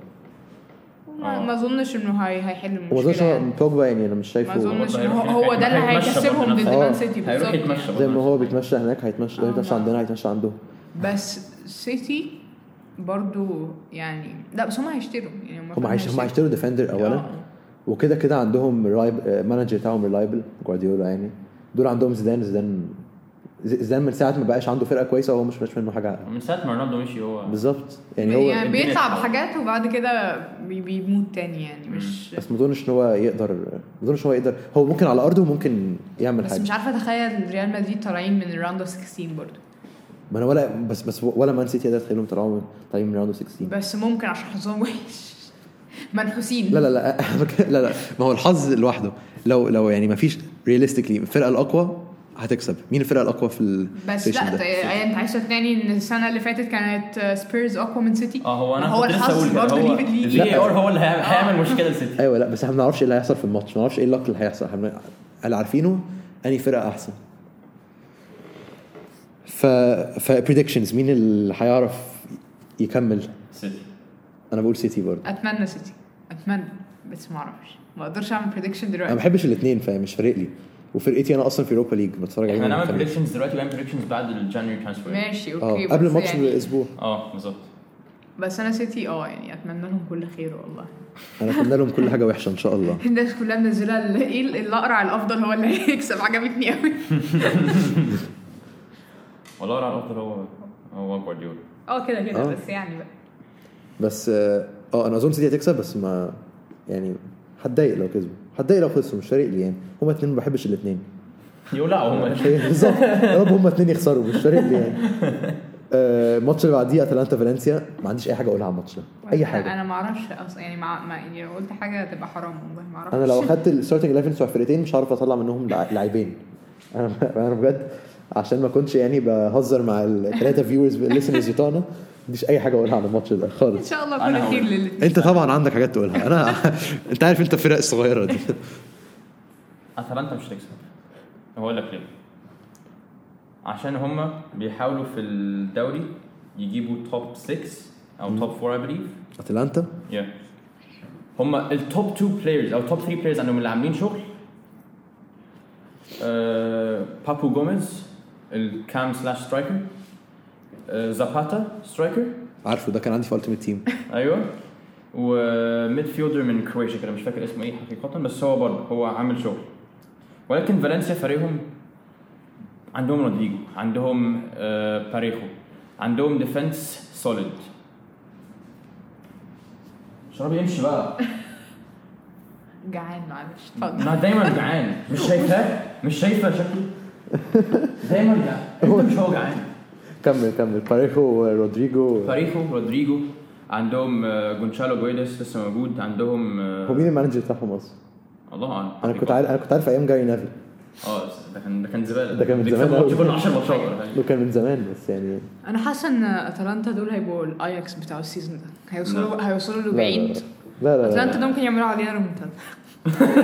Speaker 4: ما
Speaker 2: آه.
Speaker 4: ما اظنش انه هي- هيحل
Speaker 3: وما اظنش
Speaker 4: المشكله
Speaker 3: هو-
Speaker 4: يعني.
Speaker 3: بوجبا يعني انا مش
Speaker 4: ما
Speaker 3: شايفه
Speaker 4: اظنش
Speaker 2: هو-
Speaker 4: إن هو هو ده اللي
Speaker 2: هيتمشى
Speaker 4: هيكسبهم
Speaker 2: برضه
Speaker 4: ضد
Speaker 2: نفسه.
Speaker 4: مان
Speaker 3: آه.
Speaker 4: سيتي
Speaker 2: هيروح
Speaker 4: بالظبط
Speaker 2: يتمشى
Speaker 3: زي ما
Speaker 2: برضه.
Speaker 3: هو بيتمشى هناك هيتمشى هيتمشى عندنا هيتمشى عندهم
Speaker 4: بس سيتي برضو يعني لا بس هم هيشتروا يعني هم
Speaker 3: هم
Speaker 4: فعلاً
Speaker 3: هيش- هم هيشتروا ديفندر اولا
Speaker 4: آه.
Speaker 3: وكده كده عندهم مانجر بتاعهم ريلايبل جوارديولا يعني دول عندهم زيدان زيدان ز- زيدان من ساعه ما بقاش عنده فرقه كويسه وهو مش مش منه حاجه
Speaker 2: من ساعه ما رونالدو مشي هو
Speaker 3: بالظبط يعني
Speaker 4: يعني,
Speaker 3: هو
Speaker 4: يعني
Speaker 2: الدنيا
Speaker 4: بيطلع
Speaker 2: اتحولت.
Speaker 4: بحاجات وبعد كده بي- بيموت تاني يعني مش
Speaker 3: بس ما اظنش ان هو يقدر ما اظنش ان هو يقدر هو ممكن على ارضه ممكن يعمل
Speaker 4: بس مش
Speaker 3: حاجه
Speaker 4: عارفه اتخيل ريال مدريد طالعين من الراوند اوف 16 برضو
Speaker 3: ما انا ولا بس بس ولا مان سيتي قدرت تخليهم طلعوا من- طالعين من راوند 16
Speaker 4: بس ممكن عشان حظهم وحش منحوسين
Speaker 3: لا لا لا لا لا ما هو الحظ لوحده لو لو يعني ما فيش رياليستيكلي الفرقه الاقوى هتكسب مين الفرقه الاقوى في ال
Speaker 4: بس
Speaker 3: station
Speaker 4: لا
Speaker 3: ده؟
Speaker 4: ط- يعني انت عايز تقنعني ان السنه اللي فاتت كانت آه، سبيرز اقوى من سيتي
Speaker 2: اه هو انا
Speaker 4: هو
Speaker 2: كنت لسه
Speaker 4: الحظ
Speaker 2: أقول كده،
Speaker 4: برضه
Speaker 2: هو
Speaker 4: ليه بتليق.
Speaker 2: ال VAR هو اللي هيعمل-
Speaker 4: آه.
Speaker 2: هيعمل مشكله لسيتي
Speaker 3: ايوه لا بس احنا ما نعرفش ايه اللي هيحصل في الماتش ما نعرفش ايه اللك اللي هيحصل احنا اللي عارفينه انهي فرقه احسن ف ف predictions مين اللي هيعرف يكمل
Speaker 2: سيتي
Speaker 3: انا بقول سيتي برضه
Speaker 4: اتمنى سيتي اتمنى بس ما اعرفش ما اقدرش اعمل بريدكشن
Speaker 3: انا ما
Speaker 4: دلوقتي
Speaker 3: بحبش الاثنين فمش فارق لي وفرقتي انا اصلا في اوروبا ليج بتفرج عليهم
Speaker 2: احنا
Speaker 3: من
Speaker 2: هنعمل
Speaker 3: كام يوم.
Speaker 2: بريدكشنز دلوقتي وبعدين بريدكشنز بعد الجانيوري ترانسفير
Speaker 4: ماشي اوكي
Speaker 3: اه قبل
Speaker 4: بس
Speaker 3: الماتش
Speaker 4: يعني
Speaker 3: باسبوع
Speaker 2: اه بالظبط
Speaker 4: بس انا سيتي اه يعني اتمنى لهم كل خير والله
Speaker 3: انا اتمنى لهم كل حاجه وحشه ان شاء الله
Speaker 4: الناس كلها منزله ال- ايه ال- الاقرع الافضل هو اللي هيكسب عجبتني قوي
Speaker 2: والله على الافضل هو هو جوارديولا
Speaker 4: اه كده كده
Speaker 3: آه.
Speaker 4: بس يعني بقى
Speaker 3: بس اه آه، انا اظن سيتي هتكسب بس ما يعني هتضايق لو كسبوا هتضايق لو خسروا مش فارق لي يعني هما الاثنين ما بحبش الاثنين
Speaker 2: يولعوا هم
Speaker 3: هي بالظبط يا رب هما الاثنين يخسروا مش فارق لي يعني آه، الماتش اللي بعديه اتلانتا فالنسيا ما عنديش اي حاجه اقولها على الماتش ده اي حاجه
Speaker 4: انا ما اعرفش اصلا يعني مع... ما يعني لو قلت حاجه تبقى حرام والله ما اعرفش
Speaker 3: انا لو اخدت الستارتنج 11 بتوع الفرقتين مش هعرف اطلع منهم لع- لاعبين انا انا بجد عشان ما كنتش يعني بهزر مع الثلاثه فيورز الليسنرز بتوعنا ما عنديش اي حاجه اقولها على الماتش ده
Speaker 4: ان
Speaker 3: خالص
Speaker 4: شاء الله
Speaker 2: أنا
Speaker 4: كل خير
Speaker 2: هقول.
Speaker 4: للاتنين
Speaker 3: انت طبعا عندك حاجات تقولها انا انت عارف انت الفرق الصغيره دي
Speaker 2: اتلانتا مش هتكسب هقول لك ليه عشان هم بيحاولوا في الدوري يجيبوا توب 6 او توب 4 اي بليف
Speaker 3: اتلانتا
Speaker 2: يا هم التوب 2 بلايرز او توب 3 بلايرز عندهم اللي عاملين شغل آه، بابو جوميز الكام سلاش سترايكر آه، زاباتا سترايكر
Speaker 3: عارفه ده كان عندي في التيمت تيم
Speaker 2: ايوه وميد فيلدر من كرواتيا كده مش فاكر اسمه ايه حقيقه بس هو برضه هو عامل شغل ولكن فالنسيا فريقهم عندهم رودريجو عندهم آه، باريخو عندهم ديفنس سوليد شراب يمشي بقى
Speaker 4: جعان معلش
Speaker 3: نعم.
Speaker 4: اتفضل
Speaker 2: انا دايما جعان مش شايفاه مش شايفه شكله دايما جعان انت مش هو جعان
Speaker 3: كمل كمل باريخو ورودريجو
Speaker 2: باريخو رودريجو عندهم آه، جونشالو جويدس لسه موجود عندهم آه،
Speaker 3: هو مين المانجر بتاعهم اصلا؟
Speaker 2: الله اعلم
Speaker 3: انا كنت عارف انا كنت عارف ايام جاري نافل
Speaker 2: اه ده كان ده كان زباله
Speaker 3: ده كان من
Speaker 2: بيكسبوا
Speaker 3: زمان
Speaker 2: ماتش
Speaker 3: أوي.
Speaker 2: كل 10 ماتشات ولا
Speaker 3: لو
Speaker 2: حاجة.
Speaker 3: كان من زمان بس يعني
Speaker 4: انا حاسه ان اتلانتا دول هيبقوا الاياكس بتاع السيزون ده
Speaker 3: نعم.
Speaker 4: هيوصلوا هيوصلوا
Speaker 3: لا،
Speaker 4: لبعيد
Speaker 3: لا لا, لا,
Speaker 4: اتلانتا ده ممكن يعملوا علينا ريمونتادا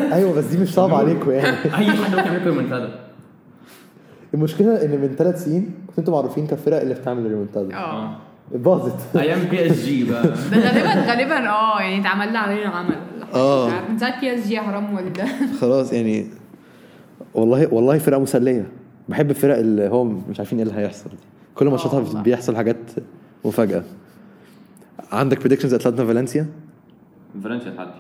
Speaker 3: لا. ايوه بس دي مش صعبه عليكم يعني
Speaker 2: اي حد ممكن يعمل لكم المنتدى
Speaker 3: المشكله ان من ثلاث سنين كنتوا انتوا معروفين كالفرق اللي بتعمل ريمونتادا
Speaker 2: آه.
Speaker 4: اه
Speaker 3: باظت
Speaker 2: ايام بي اس جي بقى
Speaker 4: ده غالبا غالبا اه يعني اتعمل لنا علينا عمل
Speaker 3: آه.
Speaker 4: مش عارف، من ساعه بي اس جي حرام والده
Speaker 3: خلاص يعني والله والله فرقه مسليه بحب الفرق اللي هو مش عارفين ايه اللي هيحصل دي كل ماتشاتها
Speaker 4: آه والله.
Speaker 3: بيحصل حاجات مفاجاه عندك بريدكشنز اتلانتا فالنسيا
Speaker 2: فالنسيا تعدي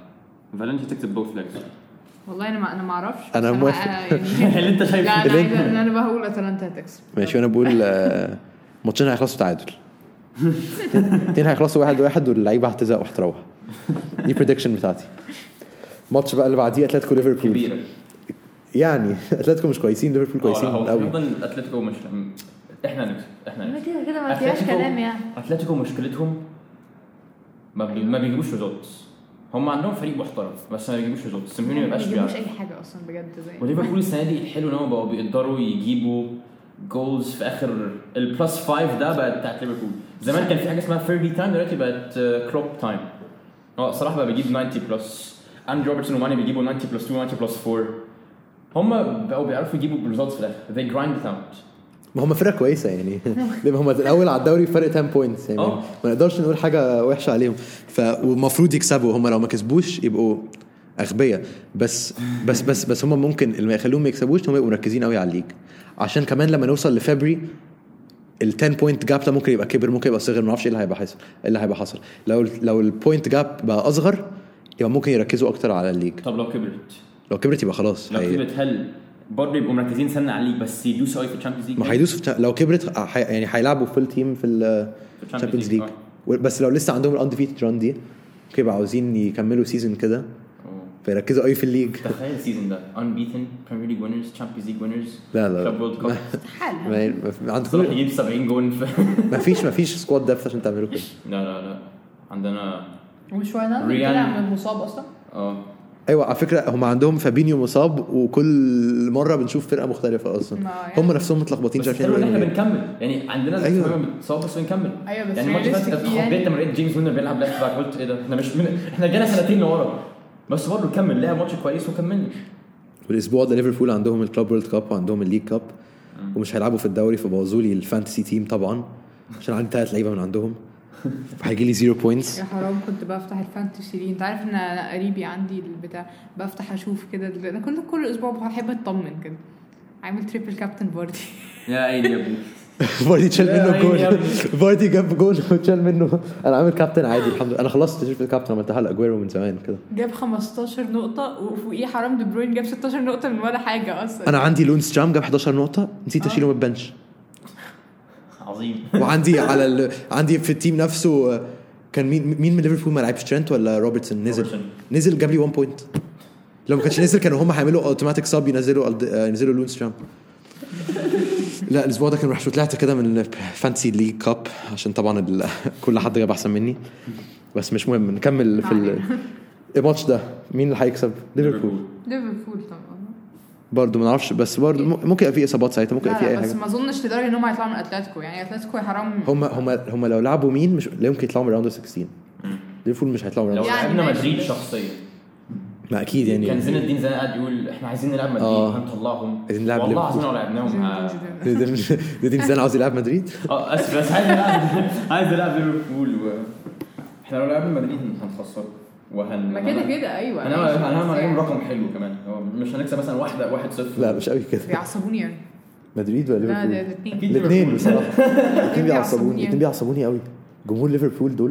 Speaker 2: فالنسيا تكسب بوث ليجز
Speaker 4: والله انا ما انا ما اعرفش
Speaker 3: أنا موافق.
Speaker 2: اللي انت شايفه
Speaker 4: آه، يعني- لا انا
Speaker 3: اللي
Speaker 4: عايزه انا أنا بقول اتلانتا هتكسب
Speaker 3: ماشي وانا بقول آه، ماتشين هيخلصوا تعادل اتنين هيخلصوا واحد واحد واللعيبه هتزهق وهتروح دي بريدكشن بتاعتي الماتش بقى اللي بعديه اتلتيكو ليفربول
Speaker 2: كبيره
Speaker 3: يعني اتلتيكو مش كويسين ليفربول كويسين
Speaker 2: آه، لا، آه، هو
Speaker 3: قوي
Speaker 2: نفضل اتلتيكو مش احنا نكسب احنا نكسب
Speaker 4: كده كده
Speaker 2: ما فيهاش أتلتيكو. كلام يعني.
Speaker 4: يعني.
Speaker 2: اتلتيكو مشكلتهم ما, بي... ما بيجيبوش ريزولتس هم عندهم فريق محترف بس ما بيجيبوش ريزولتس سيميوني ما بيبقاش
Speaker 4: مش
Speaker 2: بيعرف
Speaker 4: اي حاجه اصلا بجد زي
Speaker 2: وليفربول السنه دي الحلو ان هم بقوا بيقدروا يجيبوا جولز في اخر البلس فايف ده بقت بتاعت ليفربول زمان كان في حاجه اسمها فيرجي تايم دلوقتي بقت آه، كلوب تايم اه صراحه بقى بيجيب 90 بلس اندرو روبرتسون وماني بيجيبوا 90 بلس 2 90 بلس 4 هم بقوا بيعرفوا يجيبوا ريزولتس في الاخر they grind it out
Speaker 3: ما هم فرقه كويسه يعني لما هم الاول على الدوري فرق 10 بوينتس يعني
Speaker 2: آه.
Speaker 3: ما نقدرش نقول حاجه وحشه عليهم ف والمفروض يكسبوا هم لو ما كسبوش يبقوا اغبياء بس بس بس بس هم ممكن اللي ما يخليهم ما يكسبوش إن هم يبقوا مركزين قوي على الليج عشان كمان لما نوصل لفبري ال 10 بوينت جاب ده ممكن يبقى كبر ممكن يبقى صغير ما اعرفش ايه اللي هيبقى حصل إيه اللي هيبقى حصل لو ال- لو البوينت جاب بقى اصغر يبقى ممكن يركزوا اكتر على الليج
Speaker 2: طب لو كبرت
Speaker 3: لو كبرت يبقى خلاص
Speaker 2: لو
Speaker 3: هي-
Speaker 2: كبرت هل برضه يبقوا مركزين سنه عليك بس يدوسوا قوي في الشامبيونز ليج
Speaker 3: ما هيدوسوا في- لو كبرت ح- يعني هيلعبوا فول تيم في ال
Speaker 2: في Champions
Speaker 3: Champions
Speaker 2: League،
Speaker 3: League بس لو لسه عندهم الاندفيتد ران دي اوكي بقى عاوزين يكملوا سيزون كده
Speaker 2: أوه.
Speaker 3: فيركزوا قوي في الليج
Speaker 2: تخيل السيزون ده unbeaten Premier League winners Champions League winners
Speaker 3: لا، لا، لا.
Speaker 2: Club World Cup
Speaker 4: حالها
Speaker 3: ما- ما-
Speaker 2: صلاح
Speaker 3: عندكم
Speaker 2: يجيب 70 جون في
Speaker 3: ما فيش ما فيش سكواد ديبث عشان تعملوا كده
Speaker 2: لا لا لا عندنا
Speaker 4: ومش وانا
Speaker 2: ريال.
Speaker 4: طلع من المصاب اصلا
Speaker 2: اه
Speaker 3: ايوه على فكره هم عندهم فابينيو مصاب وكل مره بنشوف فرقه مختلفه اصلا
Speaker 4: ما يعني-
Speaker 3: هم نفسهم متلخبطين
Speaker 2: بس
Speaker 3: مش
Speaker 2: الحلو ان احنا
Speaker 3: عارفين
Speaker 2: بنكمل يعني عندنا
Speaker 3: أيوة.
Speaker 2: أيوة. بتصاب بس بنكمل
Speaker 4: أيوة، بس
Speaker 2: يعني الماتش ده
Speaker 4: realistic فيه يعني.
Speaker 2: اتخضيت لما لقيت جيمس وينر بيلعب لعب باك قلت ايه ده احنا مش من... احنا رجعنا سنتين لورا بس برضه كمل لعب ماتش كويس وكملنا
Speaker 3: والاسبوع ده ليفربول عندهم الكلوب وورلد كاب وعندهم الليج كاب
Speaker 2: آه.
Speaker 3: ومش هيلعبوا في الدوري فبوظوا لي الفانتسي تيم طبعا عشان عندي ثلاث لعيبه من عندهم هيجي لي زيرو بوينتس
Speaker 4: يا حرام كنت بفتح الفانتسي دي انت عارف ان انا قريبي عندي البتاع بفتح اشوف كده دل- انا كنت كل اسبوع بحب اطمن كده عامل تريبل كابتن باردي
Speaker 2: يا عيني يا ابني
Speaker 3: فاردي تشال
Speaker 2: يا
Speaker 3: منه
Speaker 2: عيني يا
Speaker 3: جول
Speaker 2: ابني.
Speaker 3: فاردي جاب جول وتشال منه انا عامل كابتن عادي الحمد لله انا خلصت تشيرت الكابتن عملتها لاجويرو من زمان كده
Speaker 4: جاب 15 نقطة وفوقيه حرام دي بروين جاب 16 نقطة من ولا حاجة أصلا
Speaker 3: انا عندي لونس جام جاب 11 نقطه نسيت
Speaker 4: آه.
Speaker 3: اشيله من البنش
Speaker 2: عظيم
Speaker 3: وعندي على ال... عندي في التيم نفسه آه، كان مين مين من ليفربول ما لعبش ترينت ولا روبرتسون نزل
Speaker 2: روبرتسون.
Speaker 3: نزل جاب لي 1 بوينت لو ما كانش نزل كانوا هم هيعملوا اوتوماتيك ساب ينزلوا ألد- آه، ينزلوا لونس جام لا الاسبوع ده كان وحش وطلعت كده من فانسي ليج كاب عشان طبعا ال... كل حد جاب احسن مني بس مش مهم نكمل في ال... الماتش ده مين اللي هيكسب ليفربول
Speaker 4: ليفربول طبعا
Speaker 3: برضه ما نعرفش بس برضه م- ممكن يبقى في اصابات ساعتها ممكن يبقى
Speaker 4: لا
Speaker 3: في اي
Speaker 4: لا
Speaker 3: حاجه
Speaker 4: بس ما اظنش لدرجة ان هم هيطلعوا من اتلتيكو يعني اتلتيكو يا حرام
Speaker 3: هم هم هم لو لعبوا مين مش لا يمكن يطلعوا من راوند 16 ليفربول مش هيطلعوا من
Speaker 2: لو
Speaker 3: راوند
Speaker 4: يعني
Speaker 2: لعبنا
Speaker 4: ماشي.
Speaker 2: مدريد شخصيا
Speaker 3: ما اكيد
Speaker 2: كان
Speaker 3: يعني
Speaker 2: زين الدين زين قاعد يقول احنا عايزين نلعب مدريد
Speaker 3: آه.
Speaker 2: هنطلعهم
Speaker 3: عايزين نلعب
Speaker 2: والله
Speaker 3: ليفربول.
Speaker 2: العظيم لو لعبناهم ه-
Speaker 3: نديم زين عاوز يلعب مدريد
Speaker 2: اه اسف بس عايز العب عايز العب ليفربول و... احنا لو لعبنا مدريد هنخسر وهن
Speaker 4: ما كده كده ايوه
Speaker 2: انا انا هعمل رقم حلو كمان هو مش هنكسب مثلا واحده واحد صفر
Speaker 3: لا مش قوي كده
Speaker 4: بيعصبوني يعني
Speaker 3: مدريد ولا
Speaker 4: لا ده
Speaker 3: ليفربول
Speaker 4: الاثنين
Speaker 2: أكيد.
Speaker 3: الاثنين
Speaker 2: ليفربول.
Speaker 3: بصراحه الاثنين بيعصبوني
Speaker 4: بيعصبوني.
Speaker 3: الاثنين بيعصبوني قوي جمهور ليفربول دول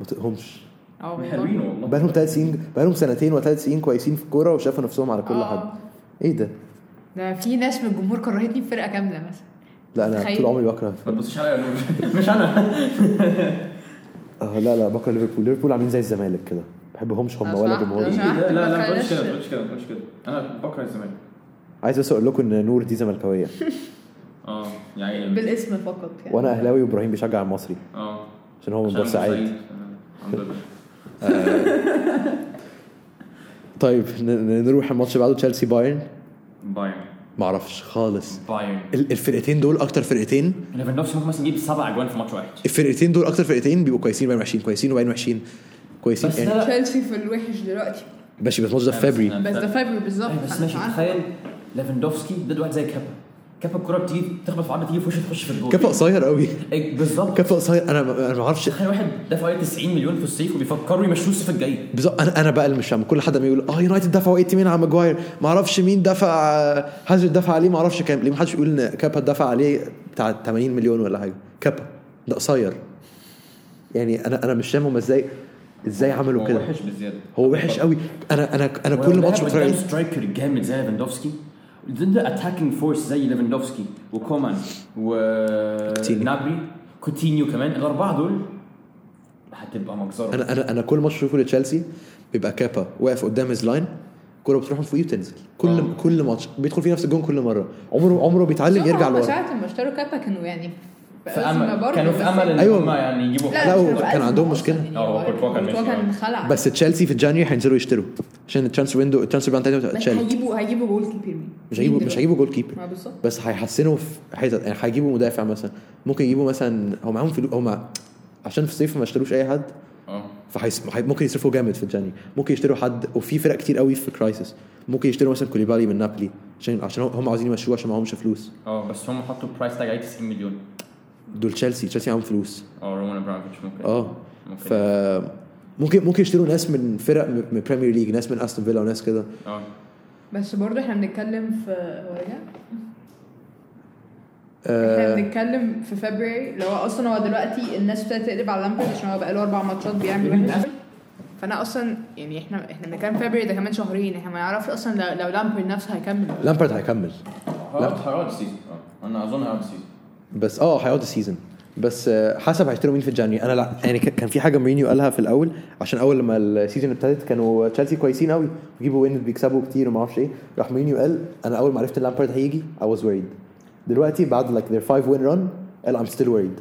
Speaker 3: ما تقهمش
Speaker 4: اه
Speaker 2: حلوين
Speaker 4: والله.
Speaker 2: والله
Speaker 3: بقالهم ثلاث سنين بقالهم سنتين وثلاث سنين كويسين في الكوره وشافوا نفسهم على كل
Speaker 4: آه.
Speaker 3: حد ايه ده؟
Speaker 4: ده في ناس من الجمهور كرهتني في فرقة كاملة مثلا
Speaker 3: لا انا
Speaker 4: تخيل.
Speaker 3: طول عمري بكره
Speaker 2: ما تبصش عليا يا نور. مش انا
Speaker 3: آه لا لا بكره ليفربول ليفربول عاملين زي الزمالك كده ما بحبهمش هم
Speaker 4: أصلاح.
Speaker 3: ولا جمهورهم
Speaker 4: أصلاح.
Speaker 2: لا لا
Speaker 4: ما
Speaker 2: ما تقولش كده ما تقولش
Speaker 4: تخيلش.
Speaker 2: كده ما تقولش كده انا بكره الزمالك
Speaker 3: عايز بس اقول لكم ان نور دي زملكاويه
Speaker 2: اه يعني
Speaker 4: بالاسم فقط يعني
Speaker 3: وانا اهلاوي وابراهيم بيشجع المصري
Speaker 2: اه
Speaker 3: عشان هو من
Speaker 2: عشان
Speaker 3: بورسعيد
Speaker 2: بورسعيد. الحمد لله
Speaker 3: طيب ن- ن- نروح الماتش بعده تشيلسي بايرن
Speaker 2: بايرن
Speaker 3: معرفش خالص
Speaker 2: بايرن
Speaker 3: ال- الفرقتين دول اكتر فرقتين
Speaker 2: ليفاندوفسكي ممكن مثلا يجيب سبع اجوان في ماتش واحد
Speaker 3: الفرقتين دول اكتر فرقتين بيبقوا كويسين وبعدين وحشين كويسين وبعدين وحشين كويسين
Speaker 2: بس
Speaker 3: يعني
Speaker 2: لا
Speaker 4: تشيلسي في الوحش دلوقتي
Speaker 3: ماشي بس الماتش ده في فبري
Speaker 4: بس ده فابري بالظبط
Speaker 2: أيوة، بس
Speaker 4: أنا مش
Speaker 2: ماشي
Speaker 4: عارفة.
Speaker 2: تخيل ليفاندوفسكي ضد واحد زي كابا كابا الكرة بتيجي تخبط في عرض تيجي في وشه تخش في الجول
Speaker 3: كفى قصير قوي
Speaker 2: إيه، بالظبط
Speaker 3: كفى قصير انا ما- انا ما اعرفش
Speaker 2: تخيل واحد دفع عليه 90 مليون في الصيف وبيفكروا يمشوه الصيف الجاي
Speaker 3: بالظبط انا انا بقى اللي مش فاهم كل حد ما يقول اه يونايتد دفعوا 80 مليون على ماجواير ما اعرفش مين دفع هازارد دفع عليه ما اعرفش كام ليه ما حدش يقول ان كابا دفع عليه بتاع 80 مليون ولا حاجه كابا ده قصير يعني انا انا مش فاهم هم ازاي ازاي عملوا كده
Speaker 2: وحش بزياده
Speaker 3: هو وحش قوي انا انا انا كل ماتش بتفرج
Speaker 2: بتفرج
Speaker 3: عليه
Speaker 2: سترايكر جامد زي ليفاندوفسكي ضد اتاكينج فورس زي ليفاندوفسكي وكومان
Speaker 3: كوتينيو.
Speaker 2: ونابري كوتينيو كمان الاربعه دول هتبقى مجزره
Speaker 3: انا انا انا كل ماتش بشوفه لتشيلسي بيبقى كابا واقف قدام هيز لاين الكوره بتروح من فوقيه وتنزل كل
Speaker 2: آه.
Speaker 3: كل ماتش بيدخل فيه نفس الجون كل مره عمره عمره بيتعلم يرجع
Speaker 4: هم
Speaker 3: لورا
Speaker 4: ساعة ما اشتروا كابا كانوا يعني في
Speaker 2: في
Speaker 4: أزمة
Speaker 2: امل
Speaker 4: برضه،
Speaker 2: كانوا في
Speaker 4: بس-
Speaker 2: امل ان
Speaker 3: أيوة.
Speaker 2: هم يعني يجيبوا
Speaker 4: لا
Speaker 3: لا،
Speaker 4: مش
Speaker 3: هو
Speaker 4: كانوا في
Speaker 3: كان
Speaker 4: أزمة
Speaker 3: عندهم مشكلة.
Speaker 4: أصلاً يعني.
Speaker 2: آه، هو كورتوا كان
Speaker 4: كورتوا
Speaker 2: ماشي،
Speaker 4: كان
Speaker 2: آه.
Speaker 4: خلع
Speaker 3: بس تشيلسي في جانيوري هينزلوا يشتروا عشان الترانسفير ويندو الترانسفير بتاعتهم هتبقى
Speaker 4: بس
Speaker 3: اتشالت
Speaker 4: هيجيبوا هيجيبوا جول كيبر مين؟
Speaker 3: مش هيجيبوا مش
Speaker 4: دلوقتي؟
Speaker 3: هيجيبوا جول كيبر
Speaker 4: ما بالظبط
Speaker 3: بس هيحسنوا في حتت يعني هيجيبوا مدافع مثلا ممكن يجيبوا مثلا هو معاهم فلوس هم عشان في الصيف ما اشتروش اي حد
Speaker 2: اه
Speaker 3: فحيس حي- ممكن يصرفوا جامد في الجاني ممكن يشتروا حد وفي فرق كتير قوي في كرايسيس ممكن يشتروا مثلا كوليبالي من نابولي عشان عشان هم عاوزين يمشوه عشان معهمش فلوس
Speaker 2: اه بس هم حطوا برايس تاج عليه 90 مليون
Speaker 3: دول تشيلسي تشيلسي معاهم فلوس
Speaker 2: اه رومان ابراموفيتش ممكن
Speaker 3: اه
Speaker 2: ممكن.
Speaker 3: ف ممكن ممكن يشتروا ناس من فرق م- من بريمير ليج ناس من استون فيلا وناس كده
Speaker 2: اه
Speaker 4: بس برضه احنا بنتكلم في هو إيه ده؟ احنا
Speaker 3: آه
Speaker 4: بنتكلم في فبراير اللي هو اصلا هو دلوقتي الناس ابتدت تقلب على لامبرد عشان هو بقاله اربع ماتشات بيعمل وحش فانا اصلا يعني احنا احنا بنتكلم فبراير ده كمان شهرين احنا ما نعرفش اصلا لو, لو لامبرد نفسه هيكمل
Speaker 3: لامبارد هيكمل
Speaker 2: هيقعد هيقعد السيزون اه انا اظن هيقعد السيزون
Speaker 3: بس اه هيقعد السيزون بس آه، حسب هيشتروا مين في الجاني انا لا يعني ك- كان في حاجه مورينيو قالها في الاول عشان اول لما السيزون ابتدت كانوا تشيلسي كويسين قوي بيجيبوا وين بيكسبوا كتير وما اعرفش ايه راح مورينيو قال انا اول ما عرفت ان لامبارد هيجي I was worried دلوقتي بعد like their 5 win run قال I'm still worried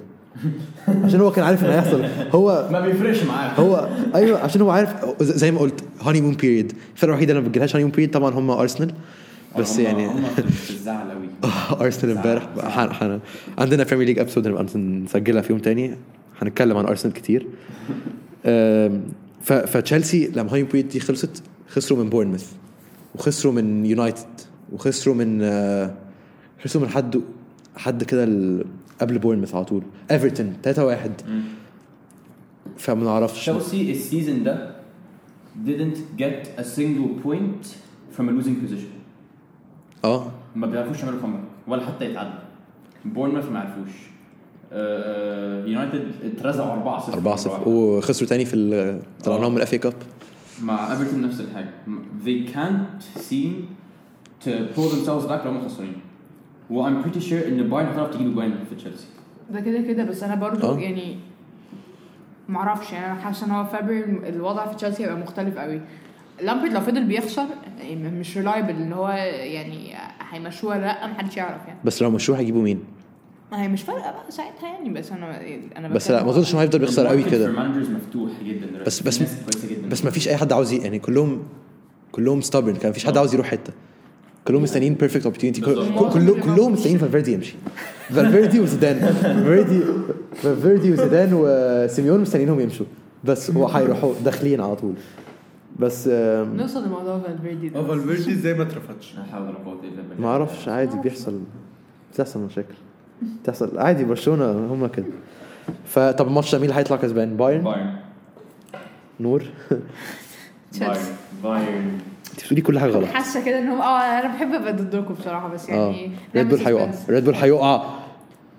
Speaker 3: عشان هو كان عارف ان هيحصل هو
Speaker 2: ما بيفرقش معاك
Speaker 3: هو ايوه عشان هو عارف ز- زي ما قلت هاني مون بيريد الفرقه الوحيده اللي ما بتجيلهاش هاني مون بيريد طبعا هم ارسنال بس
Speaker 5: هم-
Speaker 3: يعني
Speaker 5: هم في الزعل قوي
Speaker 3: ارسنال امبارح حن- حن- عندنا بريمير ليج ابسود نبقى نسجلها في يوم تاني هنتكلم عن ارسنال كتير أم، ف- فتشيلسي لما هاني بويت دي خلصت خسروا من بورنموث وخسروا من يونايتد وخسروا من آه، خسروا من حد حد كده ال- قبل بورنموث على طول ايفرتون 3-1 فما نعرفش
Speaker 2: تشيلسي السيزون ده didn't get a single point from a losing position
Speaker 3: اه
Speaker 2: ما بيعرفوش يعملوا كومباك ولا حتى يتعدوا بورنموث ما عرفوش آه، يونايتد اترزعوا 4 0
Speaker 3: 4-0 وخسروا تاني في ال- طلعناهم من الافي كاب
Speaker 2: مع ايفرتون نفس الحاجه they can't seem to pull themselves back لو هم خسرانين و I'm pretty sure ان بايرن هتعرف تجيب جوان في تشيلسي
Speaker 4: ده كده كده بس انا برضو
Speaker 3: آه.
Speaker 4: يعني معرفش يعني انا حاسه ان هو فابري الوضع في تشيلسي هيبقى مختلف قوي لامبرد لو فضل بيخسر يعني مش ريلايبل ان هو يعني هيمشوه ولا لا محدش يعرف يعني
Speaker 3: بس لو مشوه هيجيبوا مين
Speaker 4: ما هي مش فارقه بقى ساعتها يعني بس انا انا
Speaker 3: بس لا ما اظنش انه هيفضل بيخسر قوي كده
Speaker 2: مانجرز مفتوح جدا دلوقتي.
Speaker 3: بس- بس-
Speaker 2: ناس كويسه جدا
Speaker 3: بس ما فيش اي حد عاوز ي- يعني كلهم كلهم ستابرن كان مفيش حد عاوز يروح حته كلهم مستنيين بيرفكت اوبورتيونتي
Speaker 2: بالظبط.
Speaker 3: كلهم كلهم مستنيين فالفيردي يمشي فالفيردي وزيدان فالفيردي فالفيردي وزيدان وسيميون مستنيينهم يمشوا بس هو هيروحوا داخلين على طول بس آم،
Speaker 4: نوصل لموضوع فالفيردي
Speaker 5: هو
Speaker 4: ده
Speaker 5: فالفيردي ازاي ما اترفضش
Speaker 2: هحاول افوت الا بالله
Speaker 3: ما اعرفش عادي بيحصل بتحصل مشاكل بتحصل عادي برشلونه هم كده فطب الماتش ده مين اللي هيطلع كسبان بايرن
Speaker 2: بايرن
Speaker 3: نور
Speaker 4: تشيلسي.
Speaker 2: بايرن بايرن
Speaker 3: انت بتقولي كل حاجه غلط
Speaker 4: حاسه كده ان هو اه انا بحب ابقى ضدكم بصراحه بس
Speaker 3: اه
Speaker 4: يعني
Speaker 3: ريد بول هيقع ريد بول هيقع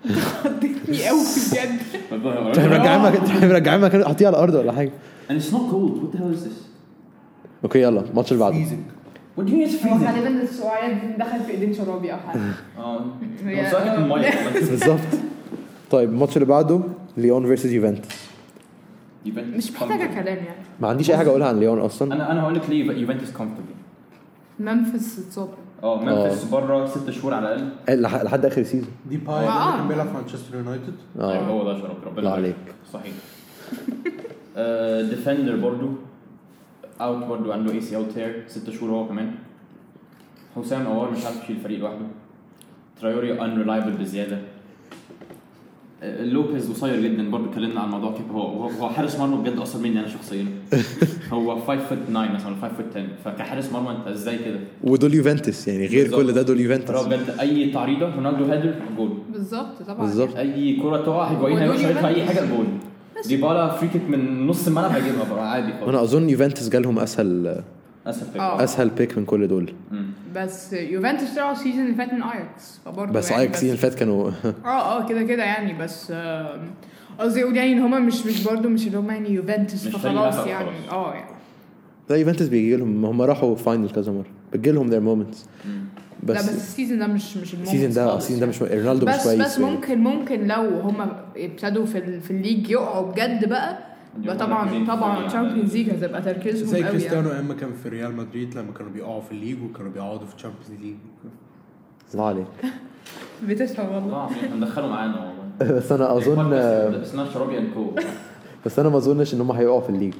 Speaker 4: ضدني قوي بجد
Speaker 3: تروح مرجعين طيب مكان تروح مرجعين مكان حطيه على الارض ولا حاجه
Speaker 2: and it's not cold what the hell is this
Speaker 3: اوكي يلا الماتش اللي بعده
Speaker 5: ايزك
Speaker 2: what do you mean it's
Speaker 4: هو
Speaker 2: freezing
Speaker 4: غالبا السعاد دخل في ايدين شرابي او حاجه
Speaker 2: اه
Speaker 4: هي-
Speaker 2: هو ساكن الميه
Speaker 3: بالظبط طيب الماتش اللي بعده ليون فيرسز يوفنتوس
Speaker 4: مش محتاجه كلام يعني
Speaker 3: ما عنديش اي حاجه اقولها عن ليون اصلا
Speaker 2: انا انا هقول لك ليه يوف- يوفنتوس كومفورتبل
Speaker 4: منفس اتصاب
Speaker 3: آه.
Speaker 2: اه منفس بره ست شهور على الاقل
Speaker 3: إيه، لح- لحد اخر سيزون
Speaker 5: دي باي
Speaker 4: آه.
Speaker 5: اللي كان بيلعب في مانشستر يونايتد
Speaker 2: ايوه
Speaker 3: اه
Speaker 2: هو ده شرف ربنا
Speaker 3: الله عليك.
Speaker 2: صحيح ديفندر آه، برضو اوت برضو عنده اي سي ال تير ست شهور هو كمان حسام اوار مش عارف يشيل الفريق لوحده ترايوري ان ريلايبل بزياده آه، لوبيز قصير جدا برضو اتكلمنا عن الموضوع كده هو هو- هو حارس مرمى بجد اثر مني انا شخصيا هو 5 فوت 9 مثلا 5 فوت 10 فكحارس مرمى انت ازاي كده؟
Speaker 3: ودول يوفنتوس يعني غير
Speaker 2: بالظبط.
Speaker 3: كل ده دول
Speaker 2: هو
Speaker 3: يوفنتوس
Speaker 2: بجد اي تعريضه رونالدو هادر جول
Speaker 4: بالظبط طبعا
Speaker 3: بالظبط
Speaker 2: اي كره تقع هيجوين
Speaker 4: ودول
Speaker 2: هيبقى شايطها اي
Speaker 4: يوفنتوس.
Speaker 2: حاجه جول ديبالا فري كيك من نص الملعب هيجيبها بقى عادي خالص
Speaker 3: انا اظن يوفنتوس جالهم اسهل
Speaker 2: اسف
Speaker 4: آه.
Speaker 3: اسهل بيك من كل دول
Speaker 4: بس يوفنتوس طلعوا السيزون اللي فات من اياكس فبرضه
Speaker 3: بس
Speaker 4: يعني
Speaker 3: اياكس السيزون اللي فات كانوا
Speaker 4: اه اه كده كده يعني بس آم، قصدي اقول يعني ان هما مش مش برضه مش اللي هما يعني يوفنتوس
Speaker 2: مش
Speaker 4: فخلاص
Speaker 2: فريق أسد
Speaker 4: يعني
Speaker 2: خلاص.
Speaker 4: اه يعني
Speaker 3: لا يوفنتوس بيجي لهم هم راحوا فاينل كذا مره بتجي لهم ذير مومنتس
Speaker 4: بس لا بس
Speaker 3: بس
Speaker 4: السيزون ده مش مش المومنت
Speaker 3: السيزون ده
Speaker 4: خالص
Speaker 3: السيزون ده
Speaker 4: يعني.
Speaker 3: مش رونالدو مش
Speaker 4: بس
Speaker 3: كويس يعني.
Speaker 4: بس ممكن ممكن لو هما ابتدوا في ال- في الليج يقعوا بجد بقى يبقى طبعا طبعا
Speaker 2: يعني.
Speaker 4: تشامبيونز ليج هتبقى تركيزهم
Speaker 5: زي
Speaker 4: قوي يعني.
Speaker 5: كريستيانو ايام ما كان في ريال مدريد لما كانوا بيقعوا في الليج وكانوا بيقعدوا في تشامبيونز ليج
Speaker 3: الله عليك
Speaker 4: بتفهم والله
Speaker 2: الله عظيم، هندخله معانا والله
Speaker 3: بس انا اظن
Speaker 2: بودكاست اسمها شرابي اند كو
Speaker 3: بس انا ما اظنش ان هم هيقعوا في الليج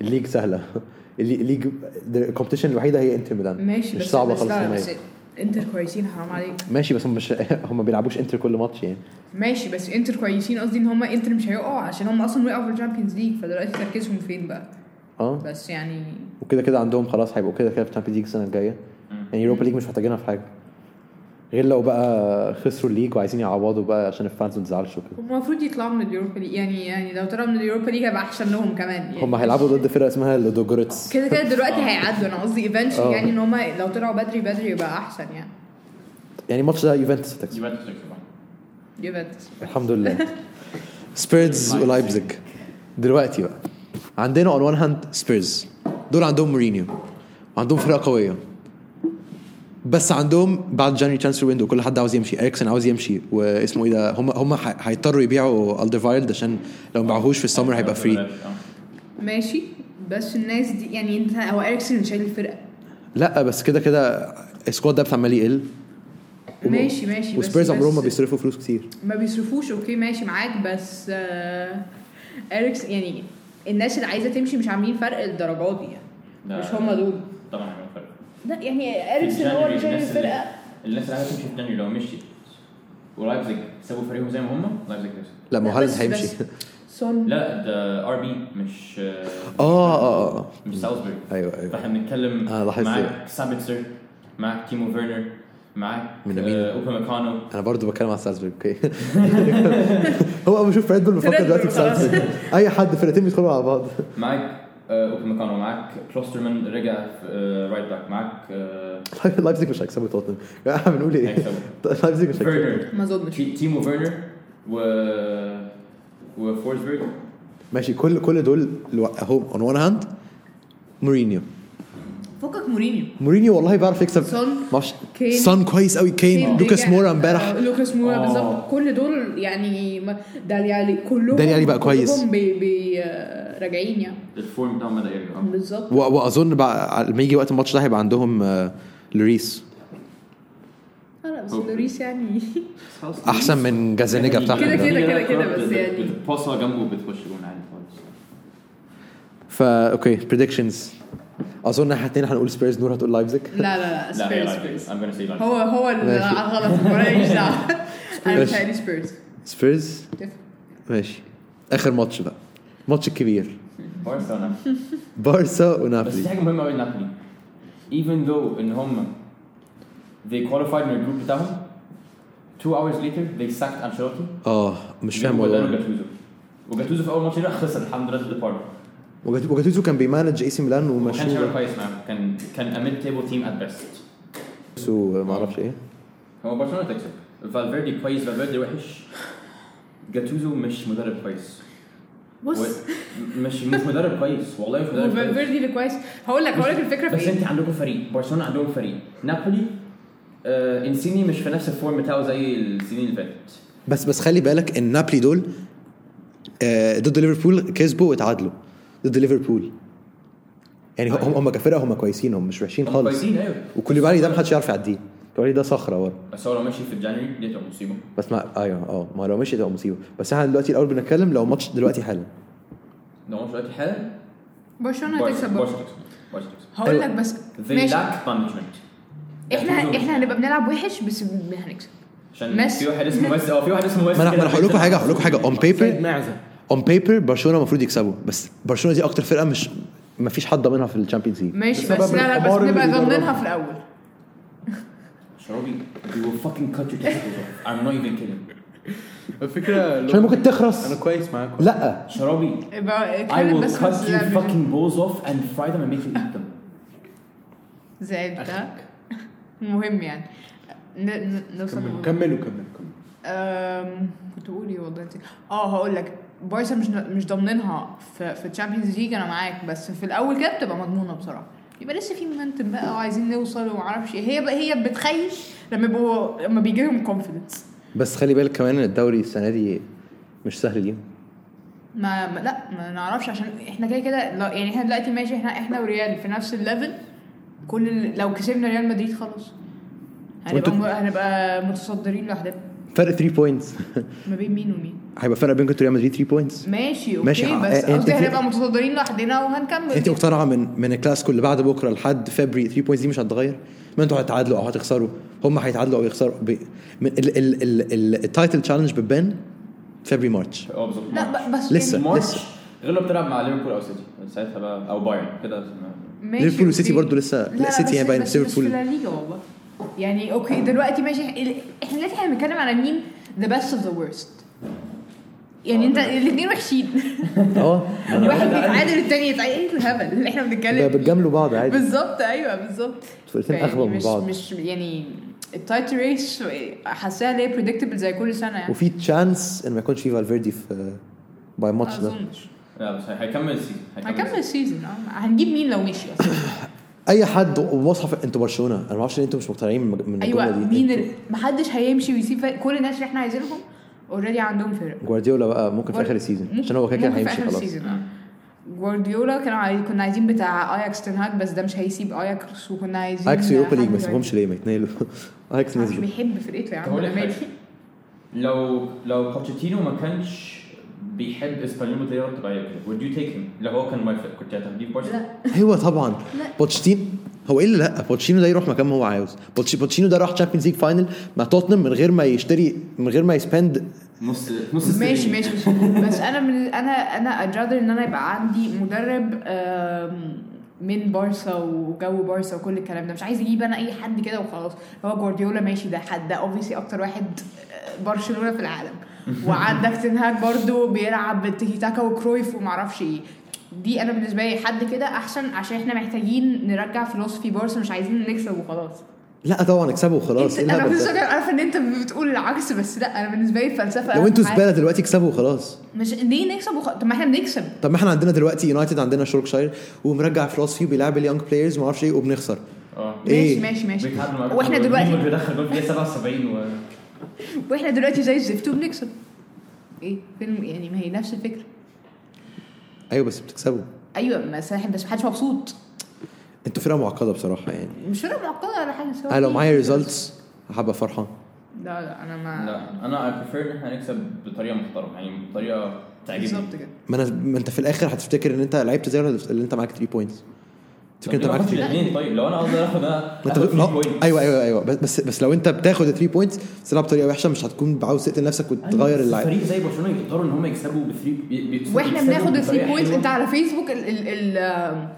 Speaker 3: الليج سهله اللي- الليج الكومبيتيشن الوحيده هي انتر ميلان
Speaker 4: ماشي
Speaker 3: مش
Speaker 4: بس
Speaker 3: صعبة
Speaker 4: بس
Speaker 3: خالص
Speaker 4: لا،
Speaker 3: نهائي.
Speaker 4: بس انتر كويسين حرام عليك
Speaker 3: ماشي بس هم مش هم ما بيلعبوش انتر كل ماتش يعني
Speaker 4: ماشي بس انتر كويسين قصدي ان هم انتر مش هيقعوا عشان هم اصلا وقعوا في الشامبيونز ليج فدلوقتي تركيزهم فين بقى
Speaker 3: اه
Speaker 4: بس يعني
Speaker 3: وكده كده عندهم خلاص هيبقوا كده كده في تشامبيونز ليج السنه الجايه يعني يوروبا ليج مش محتاجينها في حاجه غير لو بقى خسروا الليج وعايزين يعوضوا بقى عشان الفانز ما تزعلش وكده
Speaker 4: هم المفروض يطلعوا من اليوروبا ليج يعني يعني لو طلعوا من اليوروبا ليج هيبقى احسن لهم كمان يعني
Speaker 3: هم هيلعبوا ضد فرقه اسمها لودوجوريتس
Speaker 4: كده كده دلوقتي هيعدوا انا قصدي ايفنشلي
Speaker 3: آه.
Speaker 4: يعني ان هم لو طلعوا بدري بدري يبقى احسن يعني
Speaker 3: يعني الماتش ده يوفنتوس هتكسب
Speaker 2: يوفنتوس طبعا
Speaker 4: يوفنتوس
Speaker 3: الحمد لله سبيرز ولايبزيج دلوقتي بقى عندنا اون وان هاند سبيرز دول عندهم مورينيو وعندهم فرقه قويه بس عندهم بعد جانري ترانسفير ويندو كل حد عاوز يمشي اريكسن عاوز يمشي واسمه ايه ده هم هم ح- هيضطروا يبيعوا الدرفايلد عشان لو ما باعوهوش في السمر هيبقى فري
Speaker 2: بلاش، آه.
Speaker 4: ماشي بس الناس دي يعني انت هو اريكسن اللي شايل الفرقه
Speaker 3: لا بس كده كده السكواد ده عمال يقل
Speaker 4: ماشي ماشي بس-
Speaker 3: وسبيرز عمرهم ما
Speaker 4: بس-
Speaker 3: بيصرفوا فلوس كتير
Speaker 4: ما بيصرفوش اوكي ماشي معاك بس آه اريكس يعني الناس اللي عايزه تمشي مش عاملين فرق الدرجات دي يعني
Speaker 5: ده-
Speaker 4: مش هم دول
Speaker 5: طبعا عملوا فرق
Speaker 4: لا يعني
Speaker 5: آه. في
Speaker 4: اريكسن هو
Speaker 5: جانوري
Speaker 4: اللي شايل
Speaker 5: الناس اللي-
Speaker 4: الفرقه
Speaker 5: الناس اللي عايزه تمشي في جانوري لو مشيت ولايبزيج سابوا فريقهم زي ما هم لايبزيج كسب
Speaker 3: لا ما هو هالاند
Speaker 4: بس-
Speaker 3: هيمشي
Speaker 4: بس سون
Speaker 5: لا ده ار بي مش آه،
Speaker 3: اه اه اه
Speaker 5: مش سالزبري
Speaker 3: ايوه ايوه
Speaker 5: فاحنا بنتكلم
Speaker 3: آه، لاحظت
Speaker 5: معاك سابيتسر معاك تيمو فيرنر آه، معاك
Speaker 3: من مين؟
Speaker 5: اوبن ميكانو
Speaker 3: انا برضو بتكلم على سالزبوري اوكي هو اول ما اشوف ريد بول بفكر
Speaker 4: ريد
Speaker 3: دلوقتي
Speaker 4: بول
Speaker 3: في
Speaker 4: خلاص.
Speaker 3: سالزبوري اي حد فرقتين بيدخلوا على بعض
Speaker 5: معاك اوبن ميكانو معاك آه، كلوسترمان رجع رايت باك معاك آه،
Speaker 3: لايبزيج مش هيكسبوا توتنهام يا احنا بنقول ايه؟
Speaker 5: هيكسبوا
Speaker 3: لايبزيج مش هيكسبوا
Speaker 5: فيرنر
Speaker 4: ما اظنش
Speaker 5: تي- تيمو فيرنر و وفورسبرج
Speaker 3: ماشي كل كل دول لو- اهو اون وان هاند مورينيو
Speaker 4: فكك مورينيو
Speaker 3: مورينيو والله بيعرف يكسب
Speaker 4: سون
Speaker 3: معرفش
Speaker 4: كين.
Speaker 3: سان كويس قوي كين
Speaker 4: كين
Speaker 3: لوكاس
Speaker 4: رجع.
Speaker 3: مورا
Speaker 4: آه،
Speaker 3: امبارح
Speaker 4: لوكاس مورا
Speaker 5: آه.
Speaker 4: بالظبط كل دول يعني ما- دالي علي كلهم
Speaker 3: دالي علي بقى كويس.
Speaker 4: كلهم بي بي آه، راجعين يعني
Speaker 5: الفورم بتاعهم بدا يرجع
Speaker 4: بالظبط
Speaker 3: و- واظن بقى على- لما يجي وقت الماتش ده هيبقى عندهم آه، لوريس
Speaker 4: آه، لا بس
Speaker 5: أوكي.
Speaker 4: لوريس يعني
Speaker 3: احسن من جازانيجا بتاعهم
Speaker 4: كده
Speaker 3: ده.
Speaker 4: كده. بس
Speaker 5: بت-
Speaker 4: يعني.
Speaker 5: بتباصها جنبه بتخش جون عادي خالص
Speaker 3: فا اوكي بريدكشنز اظن احنا الاثنين هنقول سبيرز نور هتقول لايبزيج
Speaker 4: لا لا لا
Speaker 5: لا هي
Speaker 4: سبيرز سبيرز
Speaker 5: لايبزيج I'm gonna say لايبزيج
Speaker 4: هو هو آه، اللي
Speaker 3: ماشي.
Speaker 4: على الغلط ماليش دعوه انا
Speaker 3: ماشي.
Speaker 4: بتهيألي سبيرز
Speaker 3: سبيرز ماشي اخر ماتش بقى الماتش الكبير
Speaker 5: بارسا
Speaker 3: بارسا
Speaker 5: بس دي
Speaker 3: ونابولي
Speaker 5: حاجه مهمه قوي لنابولي even though ان هم they qualified من الجروب بتاعهم two hours later they sacked انشيلوتي
Speaker 3: اه مش فاهم
Speaker 5: جابوا بداله
Speaker 3: والله
Speaker 5: جاتوزو وجاتوزو في اول ماتش ده خسر الحمد لله ضد بارما
Speaker 3: وجات- وجاتوزو كان بيمانج اي سي ميلان
Speaker 5: ما كانش
Speaker 3: ومشوه
Speaker 5: عامل كويس معاهم كان كان a mid table team at best
Speaker 3: وما اعرفش ايه
Speaker 5: هو برشلونه تكسب فالفيردي كويس فالفيردي وحش جاتوزو مش مدرب كويس
Speaker 4: بص
Speaker 5: و- مش مش مدرب كويس والله مش مدرب كويس
Speaker 4: وفالفيردي اللي كويس هقول لك هقول لك الفكره في
Speaker 5: بس
Speaker 4: ايه
Speaker 5: انت عندكم فريق برشلونه عندهم فريق نابولي آه انسيني مش في نفس الفورم بتاعه زي السنين اللي فاتت
Speaker 3: بس بس خلي بالك ان نابولي دول آه، ضد ليفربول كسبوا واتعادلوا ضد ليفربول يعني هم هم كفرقه هم كويسين هم مش وحشين
Speaker 5: هم
Speaker 3: خالص
Speaker 5: كويسين ايوه
Speaker 3: وكوليبالي ده محدش يعرف يعديه كوليبالي ده صخره ورا
Speaker 5: بس هو لو ماشي في الجانوري دي هتبقى مصيبه
Speaker 3: بس ما ايوه اه ما لو مشي تبقى مصيبه بس احنا دلوقتي الاول بنتكلم لو ماتش دلوقتي حالا
Speaker 5: لو مش دلوقتي حالا
Speaker 4: برشلونه
Speaker 5: برشا
Speaker 4: هتكسب برشلونه
Speaker 5: برشا تكسب برشا تكسب
Speaker 4: هقول لك بس
Speaker 5: they
Speaker 4: ماشي
Speaker 5: lack punishment
Speaker 4: احنا احنا هنبقى بنلعب وحش بس هنكسب
Speaker 5: عشان
Speaker 4: ماشي.
Speaker 5: في واحد اسمه ميسي
Speaker 2: آه،
Speaker 5: اه في واحد اسمه ميسي
Speaker 3: ما انا ما انا هقول لكم حاجه هقول لكم حاجه اون بيبر
Speaker 6: معزه
Speaker 3: اون بيبر برشلونه المفروض يكسبوا بس برشلونه دي اكتر فرقه مش ما فيش حد ضامنها في الشامبيونز ليج
Speaker 4: ماشي بس
Speaker 6: بسبب
Speaker 4: لا لا
Speaker 6: الحمار
Speaker 4: بس
Speaker 6: اللي
Speaker 4: نبقى
Speaker 6: بيدربه.
Speaker 4: ضامنينها في الاول
Speaker 5: شروبي they will fucking cut your testicles off I'm not even kidding
Speaker 6: الفكره اللي
Speaker 3: عشان
Speaker 6: هو-
Speaker 3: ممكن
Speaker 6: انا
Speaker 3: تخرس
Speaker 6: كويس معاك
Speaker 3: لا
Speaker 5: شروبي
Speaker 4: يبقى
Speaker 5: I
Speaker 4: اتكلم
Speaker 5: will
Speaker 4: بس
Speaker 5: cut
Speaker 4: بس
Speaker 5: your
Speaker 4: لا،
Speaker 5: fucking balls off and fry them and make you eat them
Speaker 4: زائد ده المهم يعني ن- ن- نوصل
Speaker 6: كملوا
Speaker 4: للموضوع.
Speaker 6: كملوا كملوا كملوا
Speaker 4: أم، كنت بقول ايه والله نسيت. اه هقول لك بارسا مش مش ضامنينها في في الشامبيونز ليج انا معاك بس في الاول كده بتبقى مضمونه بصراحه يبقى لسه في مومنتم بقى وعايزين نوصل ومعرفش ايه هي بقى هي بتخيش لما يبقوا لما بيجي لهم كونفيدنس
Speaker 3: بس خلي بالك كمان ان الدوري السنه دي مش سهل ليهم
Speaker 4: ما ما- لا ما نعرفش عشان احنا كده كده لا- يعني احنا دلوقتي ماشي احنا احنا وريال في نفس الليفل كل ال- لو كسبنا ريال مدريد خلاص هنبقى
Speaker 3: وانتوا-
Speaker 4: م- هنبقى متصدرين لوحدنا
Speaker 3: فرق 3 بوينتس
Speaker 4: ما بين مين ومين
Speaker 3: هيبقى فرق بينكم وريال مدريد 3 بوينتس
Speaker 4: ماشي اوكي
Speaker 3: ماشي،
Speaker 4: ماشي بس
Speaker 3: اه، انت
Speaker 4: قصدي
Speaker 3: في-
Speaker 4: هنبقى متصدرين لوحدنا وهنكمل
Speaker 3: انت
Speaker 4: كده.
Speaker 3: مقتنعه من من الكلاسيكو اللي بعد بكره لحد فبري 3 بوينتس دي مش هتتغير ما انتوا هتتعادلوا او هتخسروا هم هيتعادلوا او يخسروا ب... من ال... ال... ال... ال... التايتل تشالنج بتبان فبري مارتش
Speaker 5: اه بالظبط
Speaker 4: لا ب- بس
Speaker 3: لسه.
Speaker 4: يعني-
Speaker 5: مارش
Speaker 3: لسه.
Speaker 5: غير لو بتلعب مع ليفربول او سيتي ساعتها بقى او بايرن كده ما-
Speaker 4: ماشي
Speaker 3: ليفربول وسيتي
Speaker 4: اوكي.
Speaker 3: برضو لسه- لا، سيتي
Speaker 4: بس-
Speaker 3: يعني باين
Speaker 4: بس- بس في
Speaker 3: ليفربول.
Speaker 4: لا ليجا والله يعني اوكي دلوقتي ماشي ال- احنا دلوقتي احنا بنتكلم على مين ذا بيست اوف ذا وورست يعني انت الاثنين وحشين
Speaker 3: اه
Speaker 4: واحد يعني بيتعادل التاني يتعادل ايه الهبل اللي احنا
Speaker 3: ده
Speaker 4: بنتكلم
Speaker 3: بتجاملوا بعض عادي
Speaker 4: بالظبط ايوه بالظبط
Speaker 3: الفرقتين
Speaker 4: فيعني
Speaker 3: اغبى من
Speaker 4: مش-
Speaker 3: بعض
Speaker 4: مش يعني التايت ريس حاساها ليه بريدكتبل زي كل سنه يعني
Speaker 3: وفي تشانس ان ما يكونش في فالفيردي في باي
Speaker 4: ما
Speaker 3: ماتش ده
Speaker 4: اظنش
Speaker 5: لا بس هي- هيكمل السيزون
Speaker 4: هنكمل السيزون اه هنجيب مين لو مشي اصلا
Speaker 3: اي حد ومصحف انتوا برشلونه انا ما اعرفش ان انتوا مش مقتنعين من من
Speaker 4: ايوه
Speaker 3: الجملة يعني دي
Speaker 4: مين
Speaker 3: انتوا-
Speaker 4: ال... محدش هيمشي ويسيب فرق. كل الناس اللي احنا عايزينهم اوريدي عندهم فرق
Speaker 3: جوارديولا بقى ممكن في اخر السيزون
Speaker 4: ممكن-
Speaker 3: عشان هو كده كده
Speaker 4: ممكن في
Speaker 3: هيمشي
Speaker 4: آخر
Speaker 3: خلاص
Speaker 4: السيزون، آه. جوارديولا كانوا عايزين كنا عايزين بتاع اياكس تنهاك بس ده مش هيسيب اياكس وكنا عايزين
Speaker 3: اياكس يوروبا ليج
Speaker 4: حد
Speaker 3: ما سيبهمش ليه ما يتنقلوا اياكس
Speaker 4: مش
Speaker 3: نزلوا
Speaker 4: بيحب فرقته يا
Speaker 5: طب
Speaker 4: عم
Speaker 5: أقول لك
Speaker 4: أنا
Speaker 5: حاجة.
Speaker 4: مالي
Speaker 5: لو لو بوتشيتينو ما كانش بيحب اسبانيول مدريد تبقى هيبقى would you take him لو هو كان موافق كنت هتاخديه في برشلونه
Speaker 4: لا
Speaker 3: ايوه طبعا
Speaker 4: لا.
Speaker 3: بوتشتين هو ايه اللي لا بوتشينو ده يروح مكان ما هو عاوز بوتش- بوتشينو ده راح تشامبيونز ليج فاينل مع توتنهام من غير ما يشتري من غير ما يسبند
Speaker 5: نص نص
Speaker 4: ماشي
Speaker 5: السنين.
Speaker 4: ماشي ماشي. بس انا من انا انا اجادر ان انا يبقى عندي مدرب آم، من بارسا وجو بارسا وكل الكلام ده مش عايز اجيب انا اي حد كده وخلاص هو جوارديولا ماشي ده حد ده اوبفيسلي اكتر واحد آه، برشلونه في العالم وعندك تنهاج برضو بيلعب بالتيكي تاكا وكرويف ومعرفش ايه دي انا بالنسبه لي حد كده احسن عشان احنا محتاجين نرجع فلوسفي بارسا مش عايزين نكسب وخلاص
Speaker 3: لا طبعا اكسبوا خلاص
Speaker 4: انت
Speaker 3: ايه
Speaker 4: انا
Speaker 3: الهبل
Speaker 4: كنت
Speaker 3: ده؟
Speaker 4: عارفه ان انت بتقول العكس بس لا انا بالنسبه لي الفلسفه
Speaker 3: لو
Speaker 4: أهم
Speaker 3: انتوا
Speaker 4: حاجة.
Speaker 3: زباله دلوقتي اكسبوا خلاص
Speaker 4: مش ليه نكسب وخ... طب ما احنا بنكسب
Speaker 3: طب ما احنا عندنا دلوقتي يونايتد عندنا شوركشاير ومرجع فلوس فيه وبيلعب اليونج بلايرز وما اعرفش ايه وبنخسر
Speaker 5: اه
Speaker 4: ماشي
Speaker 3: إيه؟
Speaker 4: ماشي ماشي
Speaker 5: بيتعادلوا مع
Speaker 4: واحنا دلوقتي آه.
Speaker 5: بيدخل جول في الدقيقة 77 و
Speaker 4: واحنا دلوقتي زي الزفت وبنكسب ايه فيلم يعني ما هي نفس الفكره
Speaker 3: ايوه بس بتكسبوا
Speaker 4: ايوه بس بس محدش مبسوط
Speaker 3: انتوا فرقه معقده بصراحه يعني
Speaker 4: مش فرقه معقده ولا حاجه بس هو
Speaker 3: انا لو
Speaker 4: في-
Speaker 3: معايا ريزلتس هبقى فرحان
Speaker 4: لا لا انا ما
Speaker 5: لا انا I prefer ان احنا نكسب بطريقه محترمه يعني بطريقه تعجبني
Speaker 4: بالظبط كده
Speaker 3: ما انا ما انت في الاخر هتفتكر ان انت لعبت زي اللي انت معاك 3 بوينتس
Speaker 5: طب
Speaker 3: تفتكر انت
Speaker 5: ليه ما
Speaker 3: معاك
Speaker 5: اخدش
Speaker 3: 3
Speaker 5: الاثنين طيب لو انا اقدر اخد انا
Speaker 3: ما انت
Speaker 5: آخد
Speaker 3: ما
Speaker 5: three points.
Speaker 3: ايوه ايوه ايوه بس بس لو انت بتاخد 3 بوينتس بتلعب بطريقه وحشه مش هتكون عاوز تقتل نفسك وتغير
Speaker 5: أيوة، بس
Speaker 3: اللعب
Speaker 5: فريق زي برشلونه يقدروا ان هم يكسبوا بثري
Speaker 4: واحنا بناخد الثري بوينتس انت على فيسبوك ال ال ال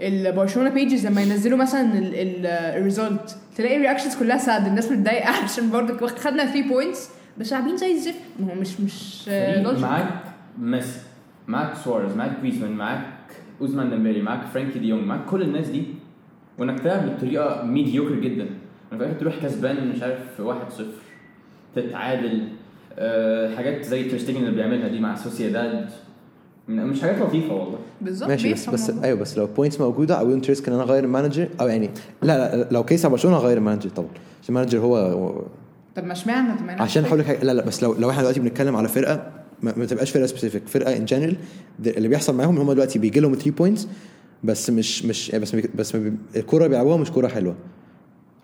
Speaker 4: البرشلونه بيجز لما ينزلوا مثلا الريزلت تلاقي الرياكشنز كلها ساد الناس متضايقه عشان برضه خدنا 3 بوينتس بس لاعبين زي الزفت ما هو مش مش آه،
Speaker 5: فريق
Speaker 4: logical.
Speaker 5: معاك ميسي معاك سواريز معاك جريزمان معاك اوزمان ديمبلي معاك فرانكي دي يونج معاك كل الناس دي وانك تلعب بطريقه ميديوكر جدا وفي الاخر تروح كسبان مش عارف 1-0 تتعادل آه، حاجات زي تريشتيجن اللي بيعملها دي مع سوسيداد مش حاجات لطيفه والله
Speaker 4: بالظبط
Speaker 3: ماشي بس
Speaker 4: بيفهم
Speaker 3: بس
Speaker 4: والله.
Speaker 3: ايوه بس لو بوينتس موجوده اي وونت ريسك ان انا اغير المانجر او يعني لا لا لو كيس على برشلونه هغير المانجر طبعا عشان المانجر هو
Speaker 4: طب ما اشمعنى طب ما أنا-
Speaker 3: عشان هقول لك حاجه لا لا بس لو لو احنا دلوقتي بنتكلم على فرقه ما, ما تبقاش فرقه سبيسيفيك فرقه ان جنرال اللي بيحصل معاهم هم دلوقتي بيجي لهم 3 بوينتس بس مش مش يعني بس ما بي- بس ما بي- الكوره اللي بيلعبوها مش كوره حلوه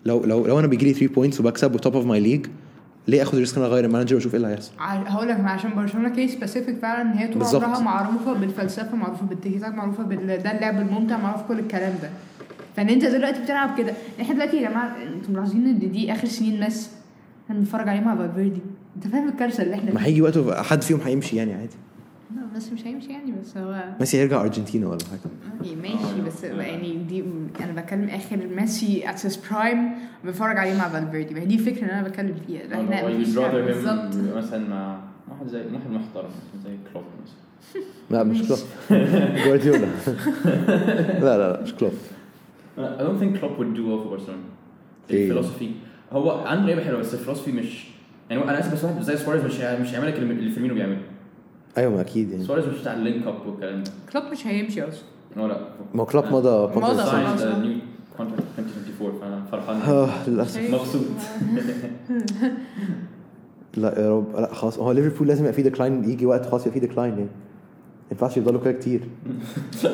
Speaker 3: لو لو لو انا بيجي لي 3 بوينتس وبكسب وتوب اوف ماي ليج ليه اخد ريسك ان انا اغير المانجر واشوف ايه اللي هيحصل
Speaker 4: ع- هقول لك عشان برشلونه كيس سبيسيفيك فعلا ان هي طول
Speaker 3: بالظبط.
Speaker 4: عمرها معروفه بالفلسفه معروفه بالتيكي تاك معروفه بال ده اللعب الممتع معروف كل الكلام ده فان انت دلوقتي بتلعب كده احنا دلوقتي يا جماعه انتوا ملاحظين ان دي اخر سنين ميسي احنا بنتفرج عليه مع فالفيردي انت فاهم الكارثه اللي احنا
Speaker 3: ما هيجي وقت وبقى حد فيهم هيمشي يعني عادي
Speaker 4: لا بس مش هيمشي يعني بس هو
Speaker 3: ميسي هيرجع ارجنتينا ولا حاجه
Speaker 4: يعني ماشي بس يعني دي انا بتكلم اخر ميسي ات هيز برايم بتفرج عليه مع فالفيردي ما هي دي الفكره اللي انا بتكلم فيها
Speaker 5: أو
Speaker 4: احنا
Speaker 5: you'd
Speaker 4: مفيش
Speaker 5: rather him
Speaker 4: بالظبط
Speaker 5: مثلا مع واحد زي واحد محترم زي كلوب مثلا
Speaker 3: لا مش كلوب جوارديولا لا لا لا مش كلوب
Speaker 5: I don't think Klopp would do well for Barcelona.
Speaker 3: إيه؟
Speaker 5: الفلسفي هو عنده لعيبه حلوه بس الفلسفي مش يعني انا اسف بس واحد زي سواريز مش هي- مش هيعمل لك اللي اللي فيرمينو بيعمله
Speaker 3: ايوه ما اكيد يعني
Speaker 5: سواريز مش بتاع اللينك اب والكلام ده
Speaker 4: كلوب مش هيمشي اصلا
Speaker 5: هو لا
Speaker 3: ما كلوب مضى
Speaker 4: مضى.
Speaker 3: contract
Speaker 4: خلاص. آه.
Speaker 5: سايند نيو كونتراكت 2024 فانا فرحان
Speaker 3: اه للاسف
Speaker 5: مبسوط
Speaker 3: لا يا رب لا خلاص هو ليفربول لازم يبقى فيه ديكلاين يجي وقت خلاص يبقى فيه ديكلاين يعني ما ينفعش يفضلوا كده كتير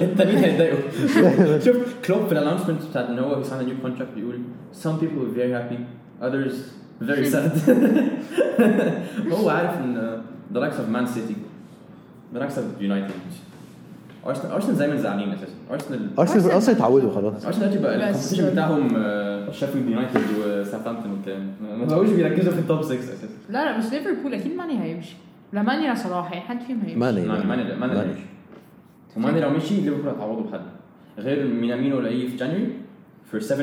Speaker 5: التانيين هيتضايقوا شوف كلوب في الانونسمنت بتاعت ان هو سايند نيو كونتراكت بيقول some people are very happy others very sad هو عارف ان the likes of Man City the likes of United ارسنال ارسنال زي ما زعلانين اساسا ارسنال
Speaker 3: ارسنال
Speaker 4: أرسنال-
Speaker 3: ارسنال اتعودوا خلاص
Speaker 5: ارسنال دلوقتي بقى
Speaker 4: بس-
Speaker 5: الكومبيتيشن بتاعهم آه، شيفيلد يونايتد وساوثهامبتون والكلام ما بقوش بيركزوا في التوب 6 اساسا
Speaker 4: لا لا بس ليفربول اكيد ماني هيمشي لا ماني لا صلاح يعني حد فيهم هيمشي
Speaker 3: ماني
Speaker 5: ماني ماني ماني لو مشي وماني لو مشي ليفربول هتعوضه بحد غير مينامينو لاقيه في جانوري for 7.25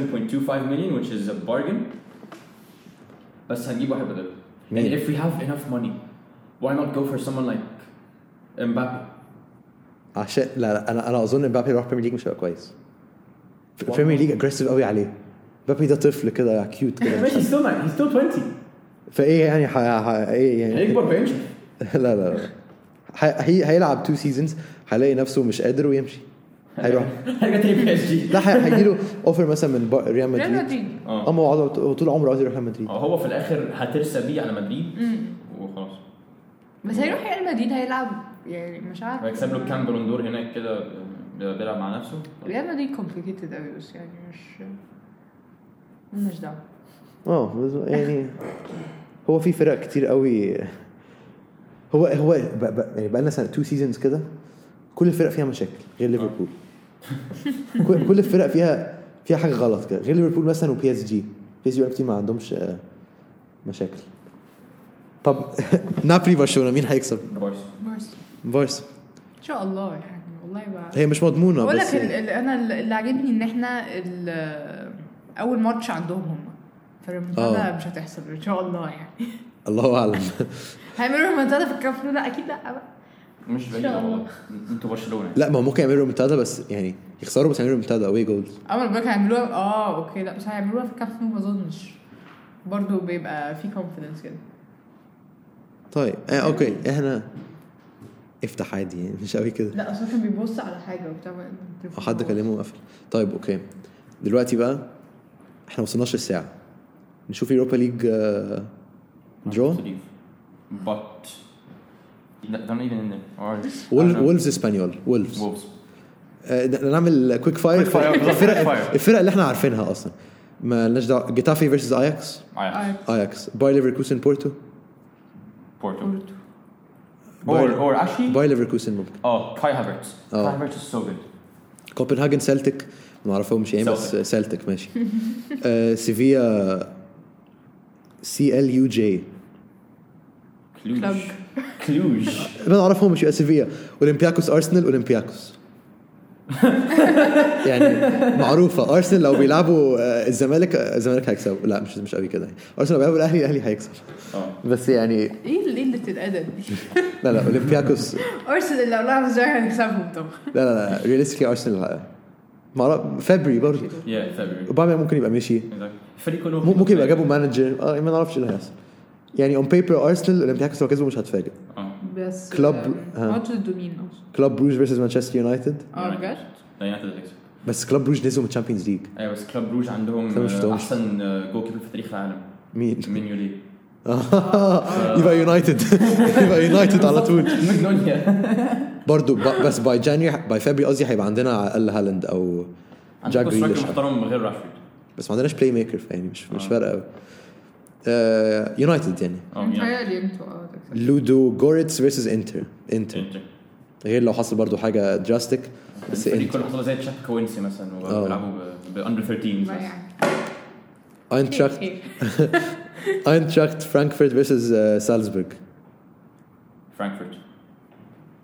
Speaker 5: million which is a bargain بس هنجيب واحد بدله
Speaker 3: مين؟
Speaker 5: يعني if we have enough money why not go for someone like Mbappe
Speaker 3: عشان لا لا انا انا اظن مبابي لو راح بريمير ليج مش هيبقى كويس بريمير ليج اجريسيف قوي عليه مبابي ده طفل كده كيوت كده
Speaker 5: ماشي he's still like- he's still 20
Speaker 3: فايه يعني ح... ح... ايه يعني
Speaker 5: هيكبر بيمشي
Speaker 3: لا لا لا ح... هي... هيلعب تو سيزونز هيلاقي نفسه مش قادر ويمشي هيروح
Speaker 5: هيرجع تاني بي اس جي
Speaker 3: لا هي- هيجيله اوفر مثلا من با- ريال
Speaker 4: ريال
Speaker 3: مدريد
Speaker 4: مدريد
Speaker 5: اه
Speaker 3: اما هو عاوز- هو طول عمره عاوز يروح ريال مدريد
Speaker 5: هو في الاخر هترسى بيه على مدريد
Speaker 4: مم.
Speaker 5: وخلاص
Speaker 4: بس هيروح ريال مدريد هيلعب يعني مش عارف
Speaker 2: هيكسب له كام بالون دور هناك كده بيلعب مع نفسه
Speaker 4: ريال مدريد كومبليكيتد قوي بس يعني مش مش دعوه
Speaker 3: اه بس- يعني هو في فرق كتير قوي هو هو ب- ب- يعني بقى لنا سنه تو سيزونز كده كل الفرق فيها مشاكل غير ليفربول
Speaker 4: آه.
Speaker 3: كل- كل الفرق فيها فيها حاجه غلط كده غير ليفربول مثلا وبي اس جي بي اس جي كتير ما عندهمش آه، مشاكل طب نابولي برشلونه مين هيكسب؟
Speaker 2: بايس
Speaker 4: بس
Speaker 3: فارس
Speaker 4: ان شاء الله يعني والله بقى
Speaker 3: هي مش مضمونه
Speaker 4: بقول
Speaker 3: إيه، بس
Speaker 4: لك ال-
Speaker 3: يعني
Speaker 4: ال- انا ال- اللي عاجبني ان احنا ال- اول ماتش عندهم هم فالريمونتادا
Speaker 3: آه.
Speaker 4: مش هتحصل ان شاء الله يعني
Speaker 3: الله اعلم
Speaker 4: هيعملوا ريمونتادا في الكاف نو؟ لا اكيد لا بقى
Speaker 2: مش
Speaker 4: إن
Speaker 2: بعيد
Speaker 4: شاء الله.
Speaker 2: والله انتوا برشلونه
Speaker 3: لا ما هو ممكن يعملوا ريمونتادا بس يعني يخسروا بس يعملوا ريمونتادا اوي جولز
Speaker 4: اول بالك هيعملوها اه اوكي لا بس هيعملوها في الكاف نو ما اظنش برضه بيبقى في كونفيدنس كده
Speaker 3: طيب آه اوكي احنا افتح عادي يعني مش قوي كده
Speaker 4: لا اصلا كان بيبص على حاجه وبتاع
Speaker 3: او حد كلمه وقفل طيب اوكي دلوقتي بقى احنا وصلناش الساعه نشوف آه، يوروبا ليج درو
Speaker 2: but لا- don't even know. Alright.
Speaker 3: وولفز اسبانيول وولفز آه،
Speaker 2: Wolves.
Speaker 3: نعمل كويك فاير
Speaker 2: Quick fire، بالظبط،
Speaker 3: الفرق
Speaker 2: quick fire.
Speaker 3: الفرق اللي احنا عارفينها اصلا ما لناش دعوه جيتافي فيرسز اياكس
Speaker 4: آه،
Speaker 2: Ajax.
Speaker 3: اياكس باي ليفركوسن بورتو
Speaker 2: Porto.
Speaker 4: كلمه
Speaker 2: Or,
Speaker 3: Bayern.
Speaker 2: or actually,
Speaker 3: باي ليفركوسن ممكن
Speaker 2: oh, Kai Havertz.
Speaker 3: Oh.
Speaker 2: Kai Havertz is so good.
Speaker 3: كوبنهاجن سلتك ما اعرفهمش يعني بس سلتك ماشي آه، سيفيا سي ال يو جي
Speaker 2: Cluj.
Speaker 4: Cluj.
Speaker 2: Cluj.
Speaker 3: ما اعرفهمش يبقى سيفيا اولمبياكوس ارسنال اولمبياكوس يعني معروفه ارسنال لو بيلعبوا آه، الزمالك آه، الزمالك هيكسب لا مش مش قوي كده يعني ارسنال لو بيلعبوا الاهلي الاهلي هيكسب
Speaker 2: Oh.
Speaker 3: بس يعني
Speaker 4: ايه اللي- ايه اللي بتتقدم دي؟
Speaker 3: لا لا اولمبياكوس لا
Speaker 4: ارسنال لو لعب ازاي هنكسبهم طبعا
Speaker 3: لا لا رياليستيكلي ارسنال ما أعرف- فابري برضه
Speaker 2: Yeah, February.
Speaker 3: اوباما ممكن يبقى مشي
Speaker 2: Exactly. الفريق كله
Speaker 3: م- ممكن يبقى جابوا مانجر اه ما نعرفش اللي هيحصل يعني اون بيبر ارسنال اولمبياكوس لو كسبوا مش هتفاجئ
Speaker 2: اه
Speaker 4: بس
Speaker 3: كلوب،
Speaker 4: آم،
Speaker 3: ها.
Speaker 4: ماتش ضد مين اصلا؟
Speaker 3: كلوب بروج فيرسز مانشستر يونايتد
Speaker 4: اه
Speaker 5: يعني
Speaker 4: بجد؟
Speaker 2: لا يونايتد هتكسب
Speaker 3: بس كلوب بروج نزلوا من الشامبيونز ليج
Speaker 2: ايوه بس كلوب روج
Speaker 3: أنا
Speaker 2: عندهم
Speaker 3: ما شفتهمش.
Speaker 2: آه، احسن جول كيبر في تاريخ العالم
Speaker 3: مين؟
Speaker 2: من يولي
Speaker 3: يبقى يونايتد يبقى يونايتد على طول
Speaker 2: مقدونيا
Speaker 3: برضه ب- بس باي جانيوري باي فبراير قصدي هيبقى عندنا على الاقل هالاند او جاك
Speaker 2: عندكم
Speaker 3: جريليش
Speaker 2: سترايكر محترم غير راشفورد
Speaker 3: بس ما عندناش بلاي ميكر يعني مش مش
Speaker 2: آه.
Speaker 3: فارقه قوي يونايتد يعني
Speaker 5: آه،
Speaker 2: اه يعني
Speaker 4: متهيألي انتوا اه تكسبوا.
Speaker 3: لودو جوريتس فيرسز انتر انتر
Speaker 2: إنتر.
Speaker 3: غير لو حصل برضه حاجه دراستيك بس
Speaker 2: الفريق
Speaker 3: انتر
Speaker 2: كله حصل زي تشاك كوينسي مثلا
Speaker 3: آه.
Speaker 2: وبيلعبوا باندر 13
Speaker 4: ما
Speaker 2: بس.
Speaker 4: يعني.
Speaker 3: اينتراخت اينتراخت فرانكفورت فيرسز سالزبورج
Speaker 2: فرانكفورت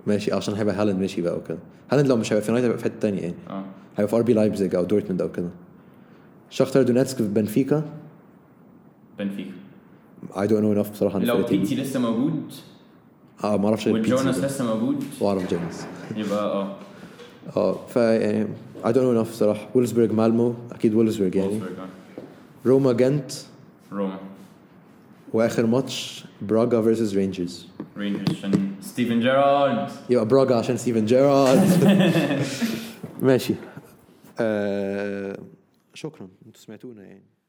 Speaker 3: ماشي عشان هيبقى هالاند ماشي بقى وكده هالاند لو مش هيبقى في يونايتد هيبقى في حته ثانيه يعني
Speaker 2: اه
Speaker 3: هيبقى في ار بي لايبزيج او دورتموند او كده شختار دوناتسك في بنفيكا
Speaker 2: بنفيكا
Speaker 3: اي دونت نو انف بصراحه عن
Speaker 2: لو
Speaker 3: الفرقتين.
Speaker 2: بيتي لسه موجود
Speaker 3: اه ما اعرفش
Speaker 2: وجوناس لسه موجود
Speaker 3: واعرف جوناس
Speaker 2: يبقى اه
Speaker 3: اه فا يعني اي دونت نو انف بصراحه وولزبرج مالمو اكيد وولزبرج يعني
Speaker 2: وولفسبورغ، آه.
Speaker 3: روما جنت
Speaker 2: روما
Speaker 3: واخر ماتش براغا فيرسز رينجرز
Speaker 2: رينجرز عشان ستيفن جيرارد
Speaker 3: يبقى براغا عشان ستيفن جيرارد ماشي آه شكرا انتوا سمعتونا يعني